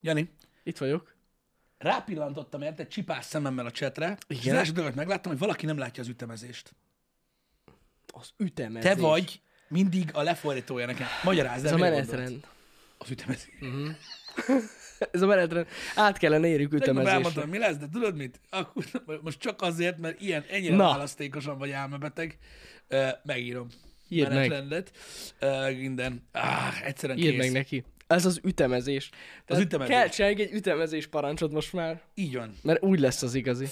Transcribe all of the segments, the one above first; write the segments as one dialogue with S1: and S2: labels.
S1: Jani,
S2: Itt vagyok.
S1: rápillantottam érted csipás szememmel a csetre, és
S2: Igen.
S1: az első dolgot megláttam, hogy valaki nem látja az ütemezést.
S2: Az ütemezés.
S1: Te vagy mindig a lefordítója nekem. Magyarázd,
S2: Ez
S1: de
S2: a
S1: mire gondolsz?
S2: menetrend.
S1: Az ütemezés.
S2: Ez a menetrend. Át kellene érjük
S1: Tegnap
S2: ütemezésre.
S1: elmondtam, mi lesz, de tudod mit? Akkor, most csak azért, mert ilyen, ennyire
S2: Na.
S1: Na. választékosan vagy álmebeteg, ö, megírom.
S2: Írd meg.
S1: Menetrendet. Ö, minden. Ah, egyszerűen
S2: Írd
S1: kész.
S2: meg neki. Ez az ütemezés.
S1: ütemezés.
S2: Kell csinálni egy ütemezés parancsot most már,
S1: Így van.
S2: mert úgy lesz az igazi.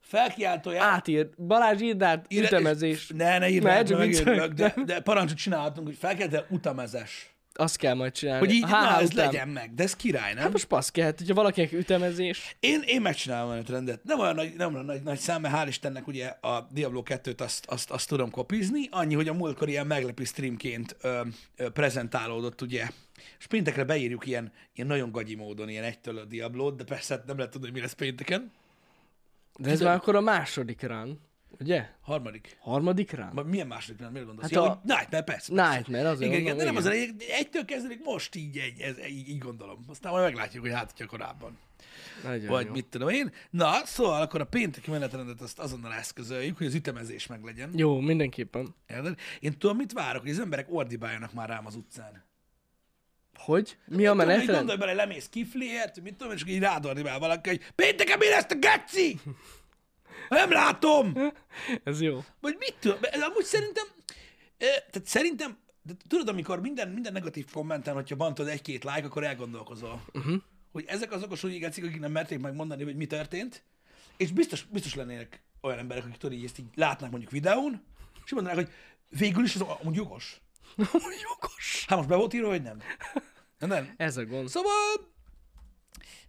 S1: Felkiáltója.
S2: Átír. Balázs írd át,
S1: Ire-
S2: ütemezés.
S1: Ne, ne írd
S2: Ne,
S1: meg,
S2: csak
S1: meg,
S2: viccelek,
S1: meg, de, de parancsot csinálhatunk, hogy felkelte utamezes.
S2: Azt kell majd csinálni.
S1: Hogy így,
S2: A
S1: na,
S2: HH
S1: ez
S2: után.
S1: legyen meg, de ez király, nem?
S2: Hát most paszkelt, hogyha valakinek ütemezés.
S1: Én, én megcsinálom a trendet. Nem olyan nagy, nem olyan nagy, nagy szám, mert hál' Istennek ugye a Diablo 2-t azt, azt, azt tudom kopizni. Annyi, hogy a múltkor ilyen meglepő streamként ö, ö, prezentálódott, ugye. És péntekre beírjuk ilyen, ilyen nagyon gagyi módon, ilyen egytől a Diablót, de persze hát nem lehet tudni, hogy mi lesz pénteken.
S2: De ez már akkor a második rán. Ugye?
S1: Harmadik.
S2: Harmadik rán?
S1: Ma- Milyen második nem? Miért gondolsz?
S2: Hát
S1: Hát ja,
S2: a-
S1: a... hát hogy Nightmare, persze. persze.
S2: Nightmare, azért
S1: igen, igen,
S2: mondom,
S1: de nem az
S2: igen.
S1: a lényeg, egytől kezdődik most így, egy, ez, így, így gondolom. Aztán majd meglátjuk, hogy hát, hogyha korábban.
S2: Nagyon
S1: Vagy
S2: jó.
S1: mit tudom én. Na, szóval akkor a pénteki menetrendet azt azonnal eszközöljük, hogy az ütemezés meg legyen.
S2: Jó, mindenképpen.
S1: Érted? Én tudom, mit várok, hogy az emberek ordibáljanak már rám az utcán.
S2: Hogy? Mi a
S1: Tudom, így
S2: menetrend?
S1: Gondolj bele, lemész kifliért, mit tudom, és így rád ordibál valaki, hogy pénteken mi lesz a geci? Nem látom!
S2: Ez jó.
S1: Vagy mit tudom, de amúgy szerintem, ö, tehát szerintem, de tudod, amikor minden, minden negatív kommenten, hogyha van tudod egy-két like, akkor elgondolkozol. Uh-huh. Hogy ezek azok a súlyigecik, akik nem merték megmondani, hogy mi történt, és biztos, biztos lennének olyan emberek, akik tudod, így ezt így látnák mondjuk videón, és mondanák, hogy végül is ez amúgy jogos.
S2: Jogos.
S1: Hát most be volt írva, hogy nem. Nem.
S2: Ez a gond.
S1: Szóval,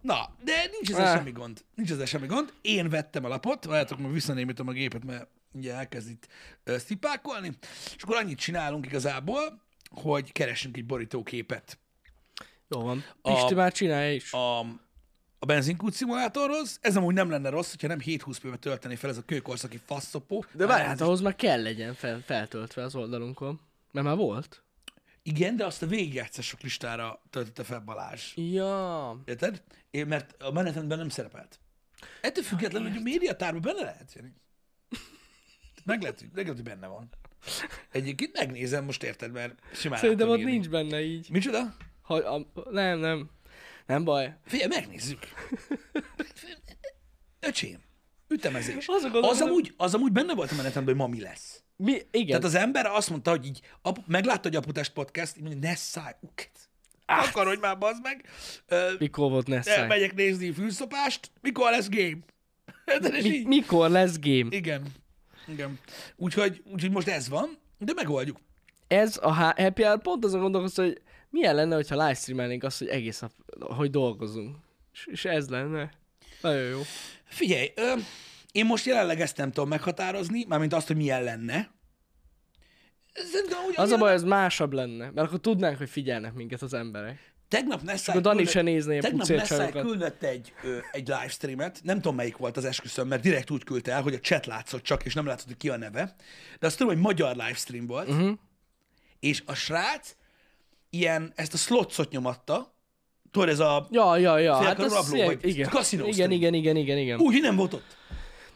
S1: na, de nincs ezzel
S2: Ah.
S1: semmi gond. Nincs ezzel semmi gond. Én vettem a lapot, várjátok, meg visszanémítom a gépet, mert ugye elkezd itt ö, szipákolni, és akkor annyit csinálunk igazából, hogy keresünk egy borítóképet
S2: Jó van. Pisti
S1: A-
S2: már csinálja is.
S1: a, a benzinkút szimulátorhoz. Ez amúgy nem lenne rossz, hogyha nem 7-20 p tölteni fel ez a kőkorszaki faszopó.
S2: De várj, hát ahhoz már kell legyen fel, feltöltve az oldalunkon. Mert már volt.
S1: Igen, de azt a végigjátszások listára töltötte fel Balázs.
S2: Ja.
S1: Érted? Én, mert a menetrendben nem szerepelt. Ettől függetlenül, hogy a médiatárban benne lehet, Jani. Meg lehet, hogy- meg lehet, hogy benne van. Egyébként megnézem, most érted, mert simán
S2: Szerintem
S1: látom
S2: ott
S1: írni.
S2: nincs benne így.
S1: Micsoda?
S2: Ha, a, nem, nem. Nem baj.
S1: Figyelj, megnézzük. Öcsém, ütemezés.
S2: Azt gondolom,
S1: Az
S2: hogy-
S1: amúgy, az amúgy benne volt a menetemben, hogy ma mi lesz.
S2: Mi, igen.
S1: Tehát az ember azt mondta, hogy így apu, meglátta, hogy Aputest podcast, így mondja, ne szállj, uket. Akarodj már, bazd meg. Ö,
S2: Mikor volt Nessai?
S1: elmegyek nézni fűszopást, mikor lesz game? Hát, De és
S2: Mi,
S1: így,
S2: mikor lesz game?
S1: igen. Igen. Úgyhogy, úgyhogy most ez van, de megoldjuk.
S2: Ez a há- happy hour pont azon gondolkoztam, hogy milyen lenne, hogyha livestreamelnénk azt, hogy egész nap, hogy dolgozunk. És, és ez lenne. Nagyon jó.
S1: Figyelj, ö, én most jelenleg ezt nem tudom meghatározni, mármint azt, hogy milyen lenne. Szerintem, hogy
S2: Az a baj, ez másabb lenne, mert akkor tudnánk, hogy figyelnek minket az emberek.
S1: Tegnap Nessai
S2: akkor Dani se nézné a
S1: tegnap
S2: pucér
S1: Nessai
S2: csajokat.
S1: küldött egy, ö, egy livestreamet, nem tudom melyik volt az esküszöm, mert direkt úgy küldte el, hogy a chat látszott csak, és nem látszott, hogy ki a neve, de azt tudom, hogy magyar livestream volt,
S2: Mhm.
S1: uh-huh. és a srác ilyen, ezt a slotszot nyomatta, tudod, ez a...
S2: Ja, ja, ja.
S1: Fél
S2: Hát
S1: akkor
S2: az
S1: rabló
S2: ilyen,
S1: vagy.
S2: igen.
S1: Kaszinó
S2: igen,
S1: stream.
S2: igen, igen, igen, igen.
S1: Úgy, hogy nem volt ott.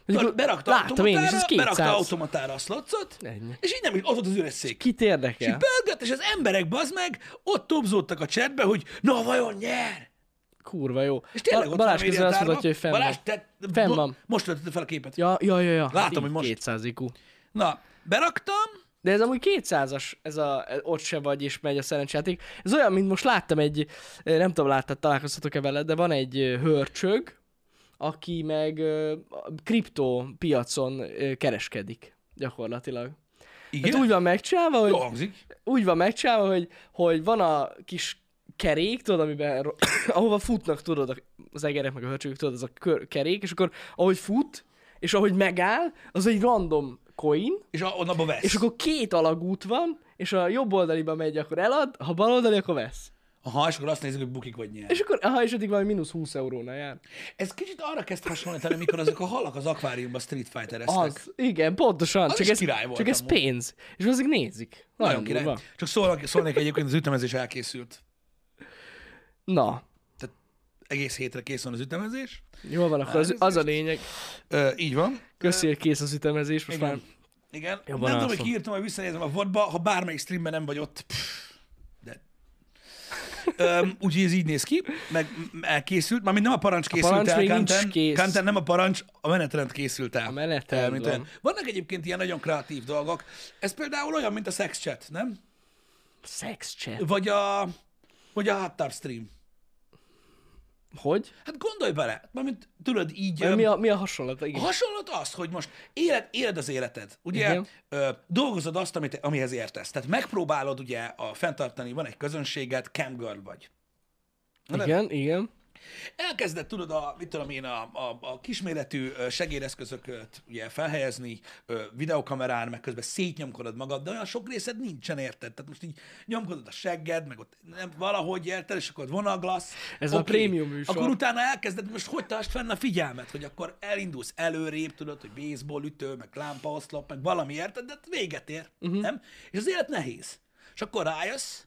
S2: Mondjuk,
S1: Tudod, berakta
S2: láttam én is, ez
S1: automatára,
S2: 200.
S1: berakta automatára a slotszot,
S2: Ennyi.
S1: és így nem, ott volt az üres szék.
S2: Kit érdekel?
S1: Pörgött, és az emberek, bazd meg, ott tobzódtak a chatbe, hogy na vajon nyer?
S2: Kurva jó.
S1: És tényleg
S2: Ba-
S1: ott
S2: Balázs
S1: van a
S2: közben azt
S1: médiatárban.
S2: mutatja, hogy fenn
S1: Balázs,
S2: van.
S1: te,
S2: Fenn
S1: bo-
S2: van.
S1: Most töltötte fel a képet.
S2: Ja, ja, ja, ja.
S1: Látom,
S2: így
S1: hogy most-
S2: 200 IQ.
S1: Na, beraktam,
S2: De ez amúgy 200-as, ez a, e- ott se vagy, és megy a szerencsejáték. Ez olyan, mint most láttam egy, eh, nem tudom, láttad, találkoztatok-e vele, de van egy ö, hörcsög, aki meg ö, a kriptó piacon ö, kereskedik gyakorlatilag.
S1: igen,
S2: Hát úgy van megcsinálva, hogy
S1: jó hangzik.
S2: úgy van megcsinálva, hogy, hogy van a kis kerék, tudod, amiben, ro- ahova futnak, tudod, a- az egerek meg a hörcsögök, tudod, az a kör, kerék, és akkor ahogy fut, és ahogy megáll, az egy random coin,
S1: És a, onnan vesz.
S2: és akkor két alagút van, és a jobb oldaliba megy, akkor elad, ha bal oldali, akkor vesz.
S1: Aha, és akkor azt nézzük, hogy bukik vagy nyer.
S2: És akkor, ha és eddig valami mínusz 20 eurónál jár.
S1: Ez kicsit arra kezd hasonlítani, amikor azok a halak az akváriumban Street Fighter
S2: Az, igen, pontosan.
S1: Az
S2: csak
S1: is
S2: ez,
S1: király
S2: Csak
S1: volt
S2: ez
S1: amúgy.
S2: pénz. És azok nézik.
S1: Nagyon király.
S2: durva.
S1: Csak szólnak, szólnék egyébként, az ütemezés elkészült.
S2: Na,
S1: Tehát egész hétre kész van az ütemezés.
S2: Jó van, akkor az, az a lényeg.
S1: Ö, így van.
S2: Köszi, hogy kész az ütemezés, most már.
S1: Igen. Igen.
S2: Jobban
S1: nem tudom,
S2: alszom.
S1: hogy kiírtam, hogy visszanézem a vodba, ha bármelyik streamben nem vagy ott. Pff, de. Öm, úgyhogy ez így néz ki, meg m- elkészült, mármint nem a parancs készült
S2: parancs
S1: el,
S2: még nincs
S1: Kanten,
S2: kész.
S1: Kanten nem a parancs, a menetrend készült el. A
S2: menetrend van.
S1: Vannak egyébként ilyen nagyon kreatív dolgok. Ez például olyan, mint a sex chat, nem?
S2: Sex chat.
S1: Vagy a, vagy a háttább stream.
S2: Hogy?
S1: Hát gondolj bele, mármint tudod így... öm,
S2: Mi a, mi a hasonlat? Igen.
S1: A hasonlat az, hogy most éled, éled az életed, ugye?
S2: Igen.
S1: Ö, dolgozod azt, amit, amihez értesz. Tehát megpróbálod ugye a fenntartani, van egy közönséget, camgirl vagy. nem.
S2: Igen, igen.
S1: Elkezdett, tudod, a, mit tudom én, a, a, a kisméretű ö, segédeszközöket ugye felhelyezni ö, videokamerán, meg közben szétnyomkodod magad, de olyan sok részed nincsen, érted? Tehát most így nyomkodod a segged, meg ott nem, valahogy érted, és akkor vonaglasz.
S2: Ez a prémium műsor.
S1: Akkor utána elkezded, most hogy tartsd fenn a figyelmet, hogy akkor elindulsz előrébb, tudod, hogy baseball ütő, meg lámpaoszlop, meg valami, érted? De hát véget ér,
S2: Mhm.
S1: uh-huh. nem? És az élet nehéz. És akkor rájössz,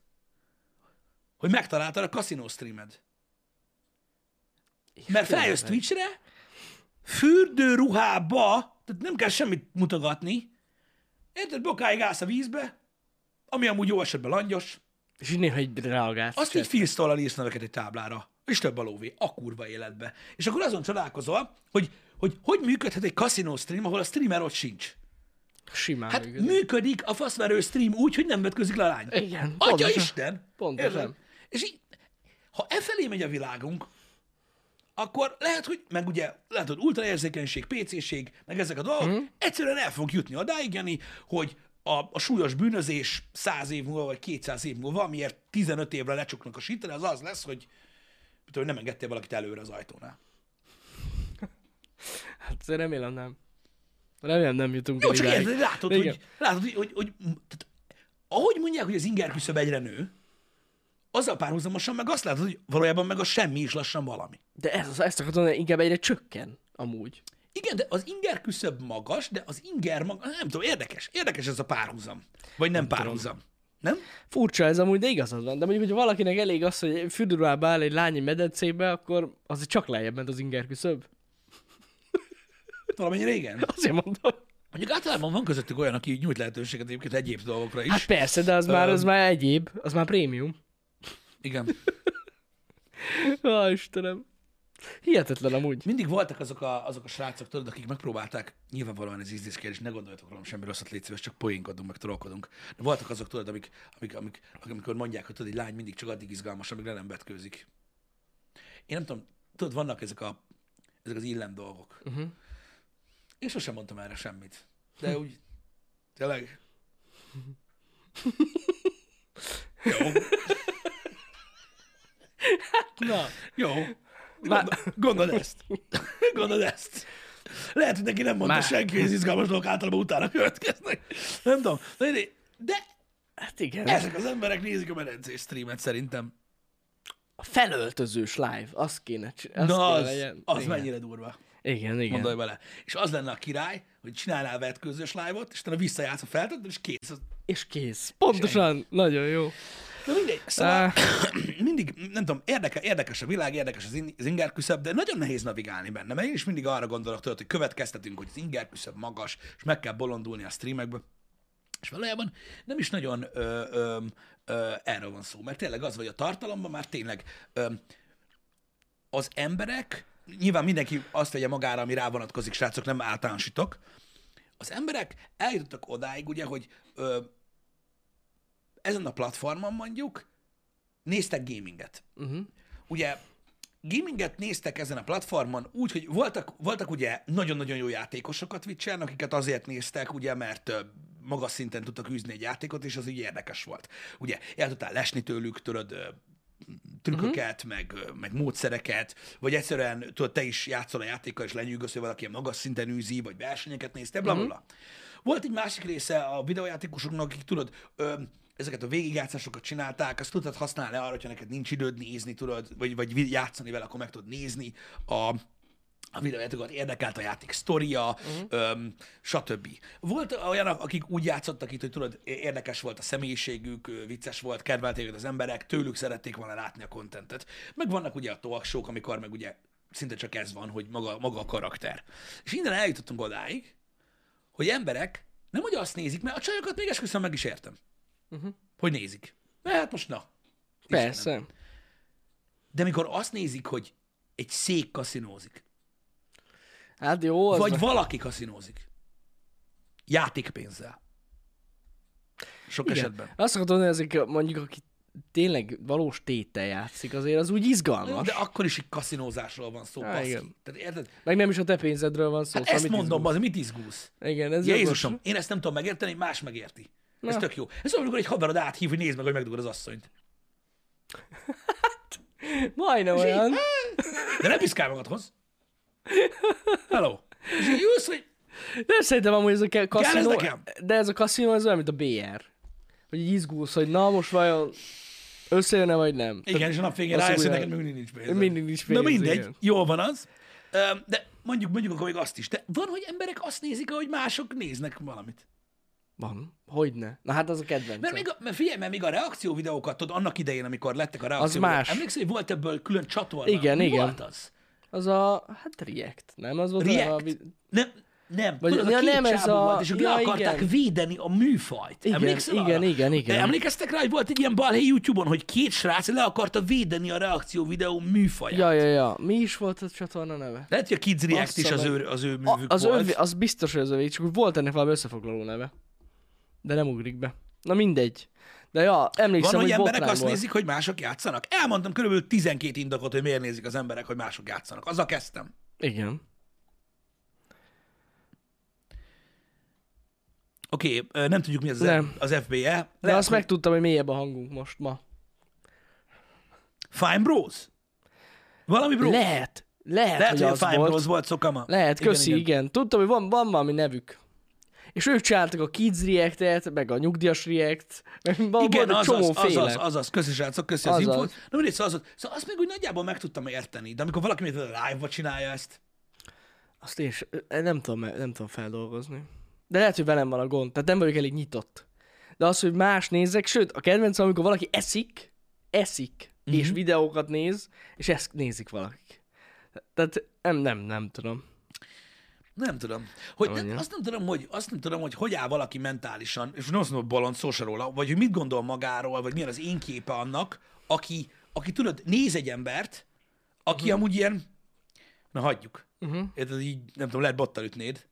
S1: hogy megtaláltad a kaszinó streamed. Mert feljössz Twitchre, fürdőruhába, tehát nem kell semmit mutogatni, érted, bokáig állsz a vízbe, ami amúgy jó esetben langyos,
S2: És így néha így reagálsz.
S1: azt így filztollal írsz neveket egy táblára, és több a lóvé, a kurva életbe. És akkor azon csodálkozol, hogy hogy, hogy működhet egy kaszinó stream, ahol a streamer ott sincs.
S2: Simán
S1: Hát
S2: működik.
S1: működik a faszverő stream úgy, hogy nem vetközik le a lány.
S2: Igen,
S1: Atya
S2: pontosan.
S1: Isten!
S2: Pontosan.
S1: Érted? És így, ha e felé megy a világunk, akkor lehet, hogy, meg ugye, lehet, hogy ultraérzékenység, PC-ség, meg ezek a dolgok,
S2: Mhm.
S1: mm. egyszerűen el fogunk jutni odáig, Jani, hogy a, a súlyos bűnözés 100 év múlva, vagy 200 év múlva, amiért 15 évre lecsuknak a sítene, az az lesz, hogy mit tudom, nem engedtél valakit előre az ajtónál.
S2: Hát remélem nem. Remélem nem jutunk
S1: Jó,
S2: el
S1: csak
S2: idáig.
S1: érted, hogy látod,
S2: Igen.
S1: hogy, látod, hogy, hogy, hogy tehát, ahogy mondják, hogy az inger küszöb egyre nő, azzal párhuzamosan meg azt látod, hogy valójában meg a semmi is lassan valami.
S2: De ez, az- ezt akartam mondani, inkább egyre csökken, amúgy.
S1: Igen, de az inger küszöb magas, de az inger magas, nem tudom, érdekes. Érdekes ez a párhuzam. Vagy nem, párhuzam. Nem?
S2: Furcsa ez amúgy, de igazad van. De mondjuk, hogy valakinek elég az, hogy fürdőruhába áll egy lány egy medencébe, akkor az csak lejjebb ment az inger küszöb.
S1: Valamennyire igen.
S2: Azért mondom.
S1: Mondjuk általában van közöttük olyan, aki nyújt lehetőséget egyébként egyéb dolgokra is.
S2: Hát persze, de az már, az már egyéb, az már prémium.
S1: Igen.
S2: Á, Istenem. Hihetetlen amúgy.
S1: Mindig voltak azok a, azok a srácok, tudod, akik megpróbálták, nyilvánvalóan ez ízlés kérdés, ne gondoljatok rólam semmi rosszat, légy szíves, csak poénkodunk, meg trollkodunk. De voltak azok, tudod, amik, amik, amik, akik- amikor mondják, hogy tudod, egy lány mindig csak addig izgalmas, amíg le nem vetkőzik. Én nem tudom, tudod, vannak ezek, a, ezek az illem dolgok. Uh-huh. Én sosem mondtam erre semmit. De úgy, tényleg. Jó,
S2: Na,
S1: jó. Gondol, gondold ezt. Gondold ezt. Lehet, hogy neki nem mondta
S2: Már.
S1: senki, hogy az izgalmas dolgok általában utána következnek. Nem tudom. Na, De, de
S2: hát igen. Ez
S1: ezek az emberek nézik a medencés streamet szerintem.
S2: a felöltözős live, az kéne csinálni.
S1: Na
S2: kéne
S1: az,
S2: legyen.
S1: az
S2: igen.
S1: mennyire durva.
S2: Igen, igen.
S1: Gondolj bele. És az lenne a király, hogy csinálnál vetkőzős live-ot, és utána visszajátsz a feltett, és kész.
S2: És kész. Pontosan, nagyon jó.
S1: Na mindegy. Szóval mindig, nem tudom, érdeke, érdekes a világ, érdekes az, in, az inger küszöb, de nagyon nehéz navigálni benne, mert én is mindig arra gondolok, tudod, hogy következtetünk, hogy az inger küszöb magas, és meg kell bolondulni a streamekbe. És valójában nem is nagyon ö, ö, ö, erről van szó, mert tényleg az, hogy a tartalomban már tényleg ö, az emberek, nyilván mindenki azt vegye magára, ami rá vonatkozik, srácok, nem általánosítok, az emberek eljutottak odáig, ugye, hogy ö, ezen a platformon mondjuk néztek gaminget. Uh-huh. Ugye gaminget néztek ezen a platformon úgy, hogy voltak, voltak ugye nagyon-nagyon jó játékosokat twitch akiket azért néztek, ugye, mert ö, magas szinten tudtak űzni egy játékot, és az így érdekes volt. Ugye, el tudtál lesni tőlük, tudod, ö, trükköket, uh-huh. meg, ö, meg módszereket, vagy egyszerűen tudod, te is játszol a játékkal, és lenyűgöz, hogy valaki ilyen magas szinten űzi, vagy versenyeket nézte, bla, bla, bla. Volt egy másik része a videójátékosoknak, akik tudod, ö, ezeket a végigjátszásokat csinálták, azt tudtad használni arra, hogyha neked nincs időd nézni, tudod, vagy, vagy vi- játszani vele, akkor meg tudod nézni a, a videójátékokat érdekelt a játék sztoria, uh-huh. stb. Volt olyanok, akik úgy játszottak itt, hogy tudod, érdekes volt a személyiségük, ö, vicces volt, kedvelték őket az emberek, tőlük szerették volna látni a kontentet. Meg vannak ugye a talkshow amikor meg ugye szinte csak ez van, hogy maga, maga a karakter. És innen eljutottunk odáig, hogy emberek nem hogy azt nézik, mert a csajokat még esküszöm meg is értem, uh-huh. hogy nézik. Mert hát most na. Istenem.
S2: Persze.
S1: De mikor azt nézik, hogy egy szék kaszinózik,
S2: Hát jó, az
S1: Vagy
S2: meg-
S1: valaki kaszinózik. Játékpénzzel. Sok Igen. esetben.
S2: Azt szokott mondani, hogy ezek mondjuk, aki tényleg valós tétel játszik, azért az úgy izgalmas.
S1: De
S2: De...
S1: akkor is egy kaszinózásról van szó,
S2: Há,
S1: baszki.
S2: igen.
S1: Tehát érted?
S2: Meg nem is a te pénzedről van szó.
S1: Hát
S2: szóval
S1: ezt
S2: mit
S1: mondom,
S2: izgulsz?
S1: az mit izgulsz?
S2: Igen, ez
S1: Jézusom, én ezt nem tudom megérteni, más megérti. Ez
S2: Na.
S1: tök jó. Ez olyan, amikor egy haverod áthív, hogy nézd meg, hogy megdugod az asszonyt.
S2: jogos. Majdnem olyan.
S1: De ne piszkál magadhoz. Hello. És így ülsz, hogy
S2: De szerintem amúgy ez a ke- kaszinó...
S1: nekem?
S2: De ez a kaszinó, ez olyan, mint a BR. Hogy így izgulsz, hogy na most vajon összejön-e vagy nem.
S1: igen, és a nap végén
S2: Azt
S1: rájössz, hogy
S2: mondja,
S1: neked még mindig nincs pénzed.
S2: Mindig nincs
S1: Na
S2: pénz,
S1: mindegy,
S2: igen.
S1: jól van az. Öm, De mondjuk, mondjuk akkor még azt is. De van, hogy emberek azt nézik, ahogy mások néznek valamit.
S2: Van. Hogyne. Na hát az a kedvencem.
S1: Mert, még a, mert figyelj, mert még a reakció videókat, tudod, annak idején, amikor lettek a reakció
S2: más.
S1: Emlékszel, hogy volt ebből külön csatorna?
S2: Igen,
S1: Mi
S2: igen.
S1: Volt az?
S2: Az a... Hát React, nem? Az volt
S1: React.
S2: A...
S1: Nem, nem,
S2: Vagy-
S1: Vagy, tudod, a
S2: ja,
S1: két
S2: nem, ez
S1: csávó
S2: a-
S1: volt, és ők
S2: ja,
S1: le akarták
S2: igen.
S1: védeni a műfajt.
S2: Igen,
S1: Emlékszel
S2: igen,
S1: arra?
S2: igen, igen.
S1: De emlékeztek rá, hogy volt egy ilyen balhé YouTube-on, hogy két srác le akarta védeni a reakció videó műfaját. Ja.
S2: Ja, ja, ja. Mi is volt a csatorna neve?
S1: Lehet, hogy a Kids React
S2: Bassza
S1: is az
S2: meg.
S1: ő, az ő művük
S2: A, az,
S1: volt.
S2: övé, az biztos, hogy az övé, csak úgy volt ennek valami összefoglaló neve. De nem ugrik be. Na mindegy. De ja,
S1: Van,
S2: emlékszem,
S1: hogy
S2: hogy
S1: emberek
S2: botrány
S1: azt
S2: volt.
S1: nézik, hogy mások játszanak. Elmondtam körülbelül 12 indokot, hogy miért nézik az emberek, hogy mások játszanak. Azzal kezdtem.
S2: Igen.
S1: Oké, okay, nem tudjuk mi az,
S2: Nem.
S1: nem. az E. FBE.
S2: De azt megtudtam, hogy mélyebb a hangunk most ma.
S1: Fine Bros? Valami bros? Le,
S2: Lehet. Lehet,
S1: Lehet,
S2: hogy,
S1: hogy a
S2: az
S1: Fine
S2: volt.
S1: Bros volt szokama.
S2: Lehet,
S1: Igen,
S2: köszi, igen,
S1: igen.
S2: igen. Tudtam, hogy van, van valami nevük. És ők csináltak a Kids React-et, meg a Nyugdíjas React, meg van
S1: Igen,
S2: volt egy csomó
S1: azaz,
S2: féle.
S1: azaz, azaz, köszi srácok, köszi az
S2: Azaz.
S1: infót. Na mindegy, szóval, azaz, szóval azt még úgy nagyjából meg tudtam érteni, de amikor valaki még live-ba csinálja ezt,
S2: Azt én is, eh, nem tudom, nem tudom feldolgozni. De lehet, hogy velem van a gond, tehát nem vagyok elég nyitott. De az, hogy más nézek, sőt, a kedvencem, amikor valaki eszik, eszik, mm-hmm. és videókat néz, és ezt nézik valakik. Tehát nem, nem, nem tudom.
S1: nem tudom. Hogy
S2: Mondja.
S1: nem, azt, nem tudom hogy, azt nem tudom, hogy hogy áll valaki mentálisan, és nem azt mondom, bolond szó se róla, vagy hogy mit gondol magáról, vagy milyen az én képe annak, aki, aki tudod, néz egy embert, aki
S2: Mhm.
S1: uh-huh. amúgy ilyen, na hagyjuk. Uh-huh. Érted, így, nem tudom, lehet bottal ütnéd,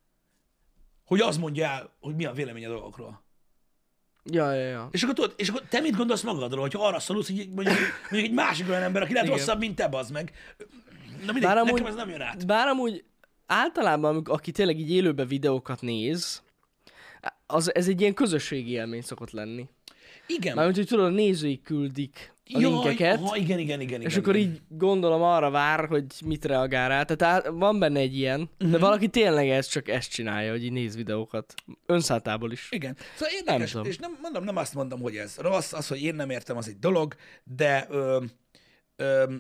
S1: hogy az mondja el, hogy mi a vélemény a dolgokról.
S2: Ja, ja, ja.
S1: És akkor tudod, és akkor te mit gondolsz magadról, hogy arra szólsz, hogy mondjuk, mondjuk egy másik olyan ember, aki lehet
S2: Igen.
S1: rosszabb, mint te, az meg. Na mindegy,
S2: Bár
S1: Bár
S2: amúgy-
S1: nekem ez nem jön át.
S2: Hát Bár amúgy általában, amik- aki tényleg így élőben videókat néz, az, ez egy ilyen közösségi élmény szokott lenni.
S1: Igen.
S2: Mármint, hogy tudod, a nézői küldik a
S1: Jaj,
S2: linkeket,
S1: aha, igen, igen, igen, igen.
S2: És akkor
S1: igen.
S2: így gondolom arra vár, hogy mit reagál rá. Tehát á, van benne egy ilyen, uh-huh.
S1: Mhm.
S2: de valaki tényleg ezt csak ezt csinálja, hogy így néz videókat. Önszátából is.
S1: Igen. Szóval érdekes,
S2: tudom.
S1: nem és nem, mondom, nem azt mondom, hogy ez rossz, az, hogy én nem értem, az egy dolog, de, ö, ö,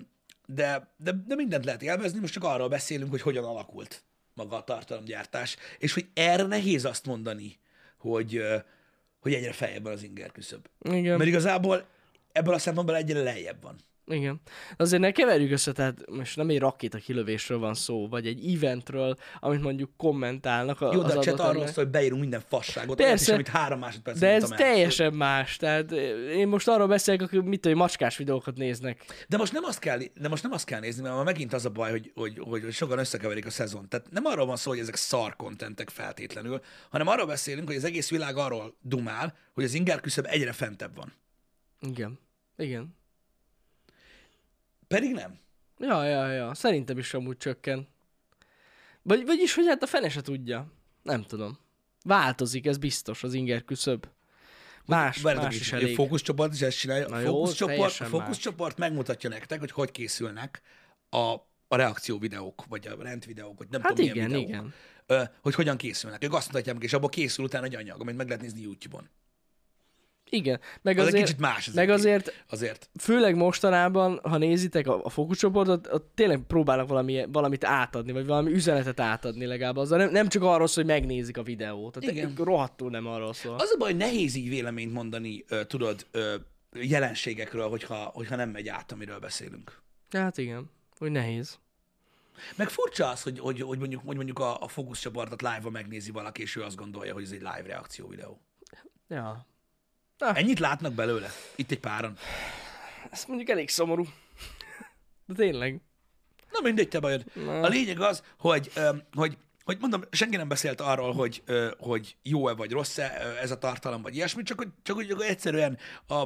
S1: de, de, de mindent lehet élvezni, most csak arról beszélünk, hogy hogyan alakult maga a tartalomgyártás, és hogy erre nehéz azt mondani, hogy, ö, hogy egyre feljebb van az inger küszöb.
S2: Igen.
S1: Mert igazából ebből a szempontból egyre lejjebb van.
S2: Igen. Azért ne keverjük össze, tehát most nem egy rakéta kilövésről van szó, vagy egy eventről, amit mondjuk kommentálnak a,
S1: Jó, de
S2: az
S1: a chat
S2: adott
S1: arról
S2: ember.
S1: szól, hogy beírunk minden fasságot,
S2: Persze.
S1: olyat is, amit három másodperc
S2: De ez
S1: mondtam el.
S2: teljesen más. Tehát én most arról beszélek, akik mit tudom, macskás videókat néznek.
S1: De most nem azt kell, de most nem azt kell nézni, mert már megint az a baj, hogy, hogy, hogy, hogy sokan összekeverik a szezon. Tehát nem arról van szó, hogy ezek szar kontentek feltétlenül, hanem arról beszélünk, hogy az egész világ arról dumál, hogy az inger küszöb egyre fentebb van.
S2: Igen. Igen.
S1: Pedig nem.
S2: Ja, ja, ja. Szerintem is amúgy csökken. Vagy, vagyis, hogy hát a fene se tudja. Nem tudom. Változik, ez biztos, az inger küszöb. Más,
S1: Várjátok
S2: más
S1: is,
S2: is
S1: a
S2: elég.
S1: fókuszcsoport is ezt csinálja.
S2: Na
S1: A
S2: jó,
S1: fókuszcsoport,
S2: teljesen
S1: a fókuszcsoport megmutatja nektek, hogy hogy készülnek a, a reakció videók, vagy a rendvideók, vagy nem
S2: Hát
S1: tudom
S2: igen,
S1: milyen videók.
S2: igen.
S1: Ö, hogy hogyan készülnek. Ők azt mutatják meg, és abból készül utána egy anyag, amit meg lehet nézni YouTube-on.
S2: Igen. Meg
S1: Az egy
S2: azért,
S1: kicsit más. az
S2: meg
S1: egész.
S2: azért,
S1: Azért.
S2: főleg mostanában, ha nézitek a, a fókuszcsoportot, ott tényleg próbálnak valami, valamit átadni, vagy valami üzenetet átadni legalább azzal. Nem, nem csak arról szól, hogy megnézik a videót. Tehát
S1: Igen.
S2: Igen. rohadtul nem arról szól.
S1: Az a baj, nehéz így véleményt mondani, ö, tudod, ö, jelenségekről, hogyha, hogyha nem megy át, amiről beszélünk.
S2: Hát igen, hogy nehéz.
S1: Meg furcsa az, hogy, hogy, hogy mondjuk, hogy mondjuk a, a fókuszcsoportot live-ba megnézi valaki, és ő azt gondolja, hogy ez egy live reakció videó.
S2: Ja.
S1: Ennyit látnak belőle? Itt egy páran.
S2: Ez mondjuk elég szomorú. De tényleg.
S1: Na mindegy, te bajod. A lényeg az, hogy, öm, hogy, hogy mondom, senki nem beszélt arról, hogy, ö, hogy jó-e vagy rossz-e ö, ez a tartalom, vagy ilyesmi, csak, hogy- csak úgy hogy egyszerűen a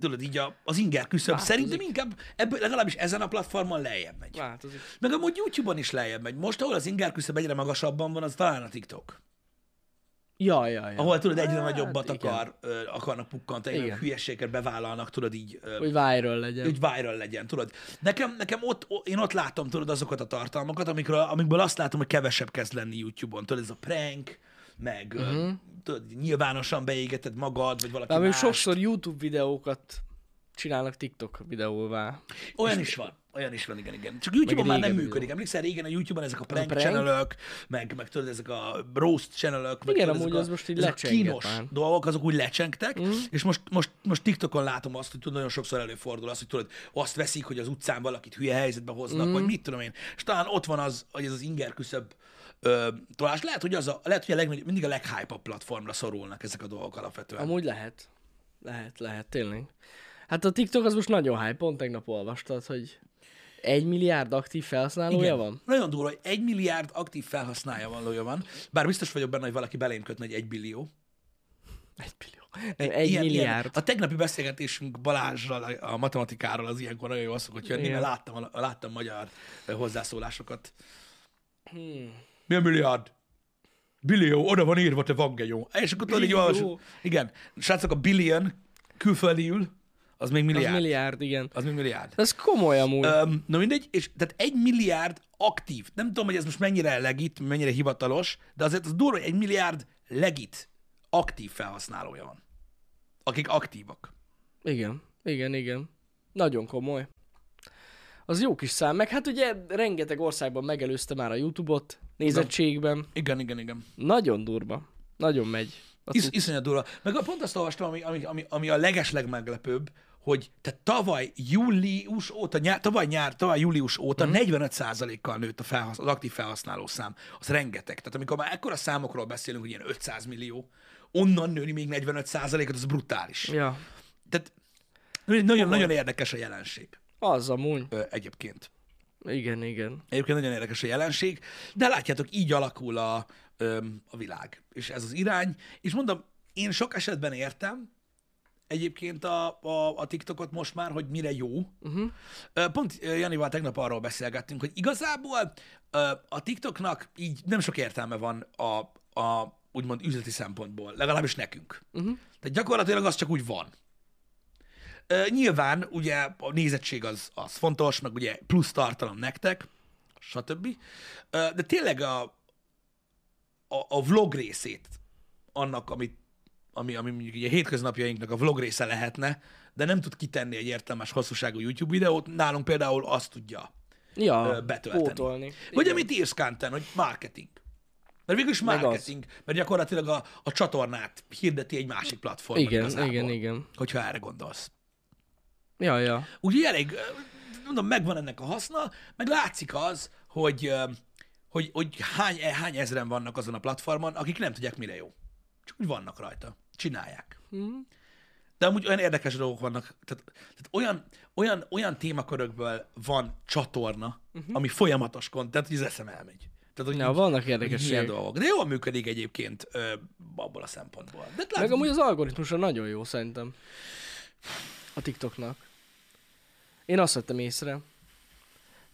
S1: tudod, így a, az inger küszöb
S2: Változik.
S1: szerintem inkább ebből legalábbis ezen a platformon lejjebb megy.
S2: Változik.
S1: Meg amúgy YouTube-on is lejjebb megy. Most, ahol az inger küszöb egyre magasabban van, az talán a TikTok.
S2: Ja, ja, ja.
S1: Ahol tudod, egyre
S2: Hát,
S1: nagyobbat
S2: igen.
S1: akar, ö, akarnak pukkantani, meg
S2: Igen.
S1: hülyeséget bevállalnak, tudod így ö,
S2: Hogy viral legyen.
S1: hogy viral legyen, tudod. Nekem, nekem ott, o- én ott látom, tudod, azokat a tartalmakat, amikről, amikből azt látom, hogy kevesebb kezd lenni YouTube-on. Tudod, ez a prank, meg uh-huh. tudod, nyilvánosan beégeted magad, vagy valaki
S2: Bár még
S1: más.
S2: sokszor YouTube videókat csinálnak TikTok videóvá.
S1: Olyan is van. Olyan is van, igen, igen. Csak YouTube-on
S2: Meg
S1: már nem
S2: régen
S1: működik. Emlékszel, régen a YouTube-on ezek a prank,
S2: prank?
S1: channelök, meg, meg tudod, ezek a roast channelök, meg
S2: Igen,
S1: tudod,
S2: amúgy
S1: ezek
S2: az
S1: a,
S2: most így Mhm.
S1: ezek a
S2: lecsengett
S1: kínos
S2: már.
S1: dolgok, azok úgy lecsengtek, mm. és most, most, most TikTokon látom azt, hogy tudod, nagyon sokszor előfordul az, hogy tudod, azt veszik, hogy az utcán valakit hülye helyzetbe
S2: Mhm.
S1: hoznak, mm. vagy mit tudom én. És talán ott van az, hogy ez az inger küszöbb ö, tolás. Lehet, hogy, az a, lehet, hogy a legnagy, mindig a leghype platformra szorulnak ezek a dolgok alapvetően.
S2: Amúgy lehet. Lehet, lehet, tényleg. Hát a TikTok az most nagyon hype, pont tegnap olvastad, hogy egy milliárd aktív felhasználója
S1: Igen.
S2: van.
S1: Nagyon durva, hogy egy milliárd aktív felhasználója van, lója van. Bár biztos vagyok benne, hogy valaki belém kötne, hogy egy billió.
S2: Egy millió. Nem, egy ilyen, milliárd.
S1: Ilyen. A tegnapi beszélgetésünk Balázsral, a- a matematikáról az ilyenkor nagyon jól szokott jönni,
S2: Igen.
S1: mert láttam, a- láttam magyar ö, hozzászólásokat.
S2: Hmm.
S1: Milyen milliárd? Billió, oda van írva, te vangelyó. És akkor tudod, így
S2: Billió.
S1: olvasod. Igen. Srácok, a billion külföldiül, az még
S2: Az
S1: milliárd. Az,
S2: milliárd, igen.
S1: az még milliárd.
S2: Ez komoly amúgy.
S1: Öm, na mindegy, és tehát egy milliárd aktív. Nem tudom, hogy ez most mennyire legit, mennyire hivatalos, de azért az durva, hogy egy milliárd legit aktív felhasználója van. Akik aktívak.
S2: Igen, igen, igen. Nagyon komoly. Az jó kis szám, meg hát ugye rengeteg országban megelőzte már a YouTube-ot nézettségben.
S1: Igen, igen, igen.
S2: Nagyon durva. Nagyon megy. A
S1: Is, iszonyat durva. Meg a- pont azt olvastam, ami, ami, ami, ami a legesleg meglepőbb, hogy te tavaly július óta, nyár, tavaly nyár, tavaly július óta 45%-kal nőtt a felhasz, az aktív felhasználó szám. Az rengeteg. Tehát amikor már ekkora számokról beszélünk, hogy ilyen 500 millió, onnan nőni még 45%-ot, az brutális.
S2: Ja,
S1: Tehát nagyon-nagyon nagyon érdekes a jelenség
S2: az amúgy.
S1: ö, egyébként.
S2: Igen, igen.
S1: Egyébként nagyon érdekes a jelenség, de látjátok, így alakul a, ö, a világ, és ez az irány. És mondom, én sok esetben értem egyébként a, a, a TikTokot most már, hogy mire jó. Uh-huh. Pont ö, Janival tegnap arról beszélgettünk, hogy igazából ö, a TikToknak így nem sok értelme van a, a úgymond üzleti szempontból, legalábbis nekünk. Uh-huh. Tehát gyakorlatilag az csak úgy van. Ö, nyilván ugye a nézettség az, az fontos, meg ugye plusz tartalom nektek, stb. Ö, de tényleg a, a, a vlog részét annak, amit, ami, ami mondjuk így a hétköznapjainknak a vlog része lehetne, de nem tud kitenni egy értelmes hosszúságú YouTube videót, nálunk például azt tudja
S2: Ja,
S1: ö, betölteni.
S2: pótolni.
S1: Vagy amit írsz Kanten, hogy marketing. Mert végül is
S2: Meg az.
S1: marketing, mert gyakorlatilag a, a csatornát hirdeti egy másik platformon
S2: Igen,
S1: igazából,
S2: igen, igen.
S1: hogyha erre gondolsz.
S2: Ja, ja.
S1: Úgyhogy elég, ö, mondom, megvan ennek a haszna, meg látszik az, hogy, ö, hogy, hogy hány, e, hány ezren vannak azon a platformon, akik nem tudják, mire jó. Csak úgy vannak rajta. Csinálják.
S2: Hm.
S1: De amúgy olyan érdekes dolgok vannak, tehát, tehát olyan, olyan, olyan témakörökből van csatorna, uh-huh. ami folyamatos content, hogy az eszem elmegy. Tehát, hogy
S2: Ja,
S1: így-
S2: Mhm. vannak
S1: hogy így ilyen
S2: érdekességek.
S1: dolgok. De jól működik egyébként ö, abból a szempontból. De
S2: Meg
S1: látod,
S2: amúgy az algoritmusa nagyon jó szerintem. A TikToknak. Én azt vettem észre.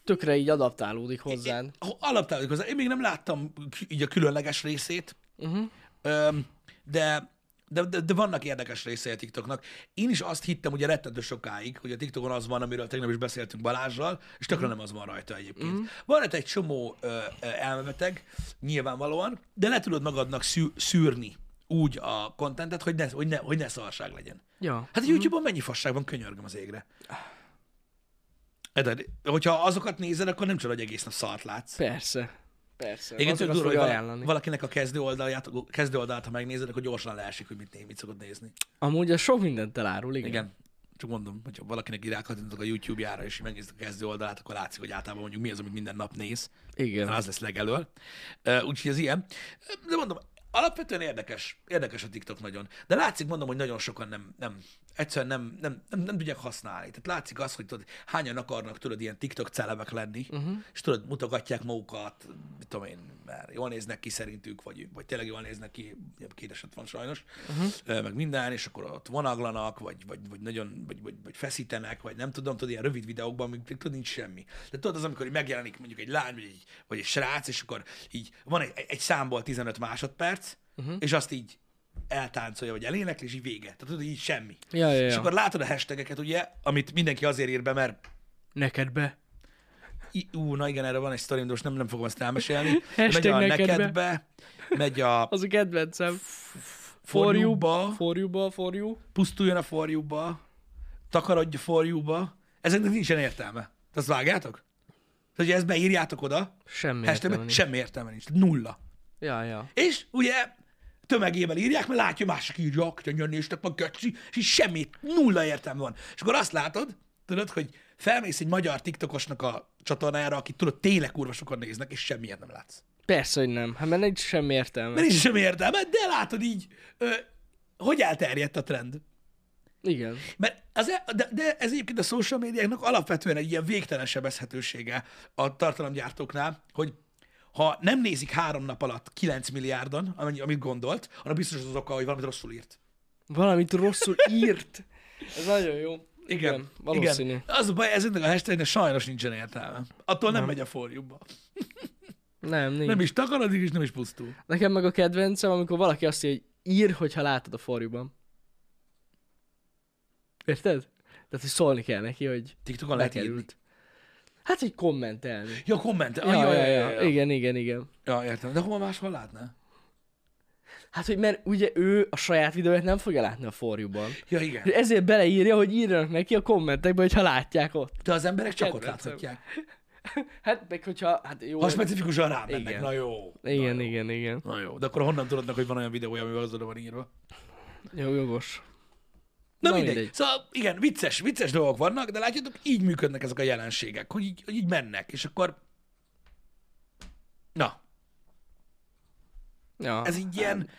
S2: Tökre így adaptálódik hozzád.
S1: Én- Alaptárodik hozzá. Én még nem láttam k- így a különleges részét, uh-huh. öm, de De, de, de vannak érdekes részei a TikToknak. Én is azt hittem ugye rettentő sokáig, hogy a TikTokon az van, amiről tegnap is beszéltünk Balázsral, és tökre nem az van rajta egyébként. Mm. Van itt egy csomó ö, ö, elmebeteg, nyilvánvalóan, de le tudod magadnak szű, szűrni úgy a kontentet, hogy ne, hogy, ne, hogy ne szarság legyen.
S2: Ja.
S1: Hát a YouTube-on mennyi fasság van, könyörgöm az égre. Érted? Hogyha azokat nézed, akkor nem csoda, hogy egész nap szart látsz.
S2: Persze. Persze.
S1: Igen, tök
S2: Azokat
S1: durva, hogy
S2: fogja
S1: vala-
S2: ajánlani.
S1: valakinek a kezdő oldalát, kezdő oldalát, ha megnézed, akkor gyorsan leesik, hogy mit, né- mit szokott nézni.
S2: Amúgy az sok mindent elárul, igen.
S1: Igen. Csak mondom, hogyha valakinek így rákattintok a YouTube-jára, és megnézed a kezdő oldalát, akkor látszik, hogy általában mondjuk mi az, amit minden nap néz.
S2: Igen.
S1: Az lesz legelől. Ö, Úgyhogy ez ilyen. De mondom, alapvetően érdekes. Érdekes a TikTok nagyon. De látszik, mondom, hogy nagyon sokan nem, nem egyszerűen nem, nem, nem, nem tudják használni. Tehát látszik az, hogy tudod, hányan akarnak tudod ilyen TikTok celebek lenni,
S2: Mhm.
S1: uh-huh. és tudod, mutogatják magukat, mit tudom én, mert jól néznek ki szerintük, vagy, vagy tényleg jól néznek ki, ugye kéteset van sajnos, uh-huh. meg minden, és akkor ott vonaglanak, vagy, vagy, vagy nagyon, vagy, vagy, vagy feszítenek, vagy nem tudom, tudod, ilyen rövid videókban, amikor tudod, nincs semmi. De tudod, az, amikor így megjelenik mondjuk egy lány, vagy egy, vagy egy srác, és akkor így van egy, egy számból 15 másodperc,
S2: Mhm.
S1: uh-huh. és azt így eltáncolja, vagy elénekli, és így vége. Tehát tudod, így semmi.
S2: Ja, ja,
S1: És
S2: ja.
S1: akkor látod a hashtageket, ugye, amit mindenki azért ír be, mert
S2: Neked be.
S1: I- ú, na igen, erre van egy sztorim, de most nem, nem fogom ezt elmesélni.
S2: Hashtag
S1: megy a
S2: neked be.
S1: nekedbe, megy a
S2: Az a kedvencem.
S1: forjúba,
S2: Forjúba, forjú.
S1: pusztuljon a forjúba, takarodj a forjúba. Ezeknek nincsen értelme. Tehát Azt vágjátok? Tehát, hogy ezt beírjátok oda,
S2: Semmi értelme
S1: hashtagben
S2: nincs.
S1: semmi értelme nincs. Nulla.
S2: Ja, ja.
S1: És ugye tömegében írják, mert látja, mások írja, könnyen néztek meg, göcsi, és így semmi, nulla értelme van. És akkor azt látod, tudod, hogy felmész egy magyar TikTokosnak a csatornájára, akit tudod, tényleg kurva sokan néznek, és semmilyet nem látsz.
S2: Persze, hogy nem. Hát mert nincs semmi értelme.
S1: Mert nincs semmi értelme, de látod így, ö, hogy elterjedt a trend.
S2: Igen.
S1: Mert az, e- de, de ez egyébként a social médiáknak alapvetően egy ilyen végtelen sebezhetősége a tartalomgyártóknál, hogy ha nem nézik három nap alatt 9 milliárdan, amennyi, amit gondolt, arra biztos az az oka, hogy valamit rosszul írt.
S2: Valamit rosszul írt. Ez nagyon jó. valószínű.
S1: Igen. Az a baj, ezeknek a hashtagnek sajnos nincsen értelme. Attól nem, nem. megy a forjúba.
S2: Nem, nincs.
S1: Nem is takarodik, és nem is pusztul.
S2: Nekem meg a kedvencem, amikor valaki azt írja, hogy ír, hogyha látod a forjúban. Érted? Tehát, hogy szólni kell neki, hogy
S1: TikTokon lehet írni.
S2: lekerült. Hát, hogy kommentelni.
S1: Ja, komment. Ja,
S2: Ja, ja, ja, ja, Igen, igen, igen.
S1: ja, értem. De hol máshol látná?
S2: Hát, hogy mert ugye ő a saját videóját nem fogja látni a forjúban.
S1: Ja, igen.
S2: És Ezért beleírja, hogy írjanak neki a kommentekbe, hogyha látják ott.
S1: De az emberek csak ott
S2: Kedvencem.
S1: láthatják.
S2: Hát, meg hogyha, hát jó.
S1: Ha specifikusan rámennek,
S2: Igen.
S1: na jó.
S2: Igen, igen, igen.
S1: Na jó, de akkor honnan tudod meg, hogy van olyan videója, amivel az oda van írva?
S2: Jó, jogos.
S1: Na, Na mindegy. mindegy. Szóval igen, vicces, vicces dolgok vannak, de látjátok, így működnek ezek a jelenségek, hogy így, hogy így mennek, és akkor... Na,
S2: Ja.
S1: ez így ilyen,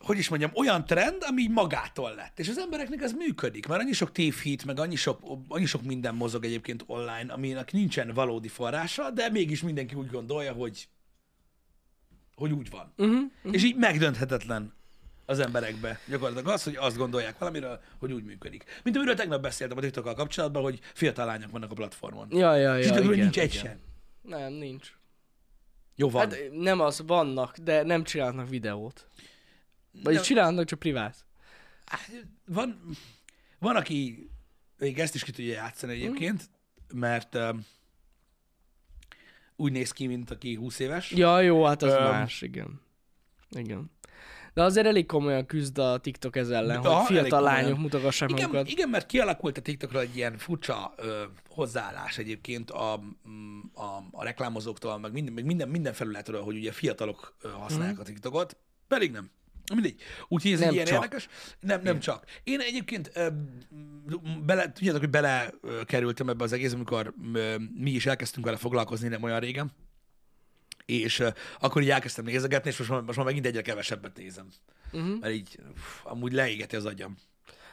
S1: hogy is mondjam, olyan trend, ami így magától lett. És az embereknek ez működik, mert annyi sok tévhit, meg annyi sok, annyi sok minden mozog egyébként online, aminek nincsen valódi forrása, de mégis mindenki úgy gondolja, hogy, hogy úgy van.
S2: Mhm,
S1: Uh-huh, uh-huh. És így megdönthetetlen az emberekbe gyakorlatilag az, hogy azt gondolják valamiről, hogy úgy működik. Mint amiről tegnap beszéltem a TikTokkal kapcsolatban, hogy fiatal lányok vannak a platformon. Ja,
S2: Ja, ja, ja.
S1: és ja,
S2: igen,
S1: nincs egy
S2: igen.
S1: sem.
S2: Nem, nincs.
S1: Jó, van.
S2: Hát nem az, vannak, de nem csinálnak videót. Vagy
S1: Nem.
S2: csinálnak csak privát.
S1: van, van, aki még ezt is ki tudja játszani egyébként, mert um, úgy néz ki, mint aki 20 éves.
S2: Ja, jó, hát az
S1: Öm.
S2: más, igen. Igen. De azért elég komolyan küzd a TikTok ezzel ellen,
S1: Aha,
S2: hogy
S1: elég
S2: fiatal
S1: komolyan.
S2: lányok mutogassák
S1: igen,
S2: magukat.
S1: igen, mert kialakult a TikTokra egy ilyen furcsa ö, hozzáállás egyébként a, mm, a, a reklámozóktól, meg minden, meg minden, minden felületről, hogy ugye fiatalok ö, használják a TikTokot, pedig nem. Mindegy. Úgyhogy ez nem
S2: Mhm. Nem
S1: egy ilyen
S2: csak.
S1: érdekes. Nem, nem csak. Én egyébként ö, m, bele, tudjátok, hogy belekerültem ebbe az egész, amikor ö, mi is elkezdtünk vele foglalkozni nem olyan régen. és uh, akkor így elkezdtem nézegetni, és most már, most már megint egyre kevesebbet nézem.
S2: Mhm.
S1: Uh-huh. Mert így uff, amúgy leégeti az agyam.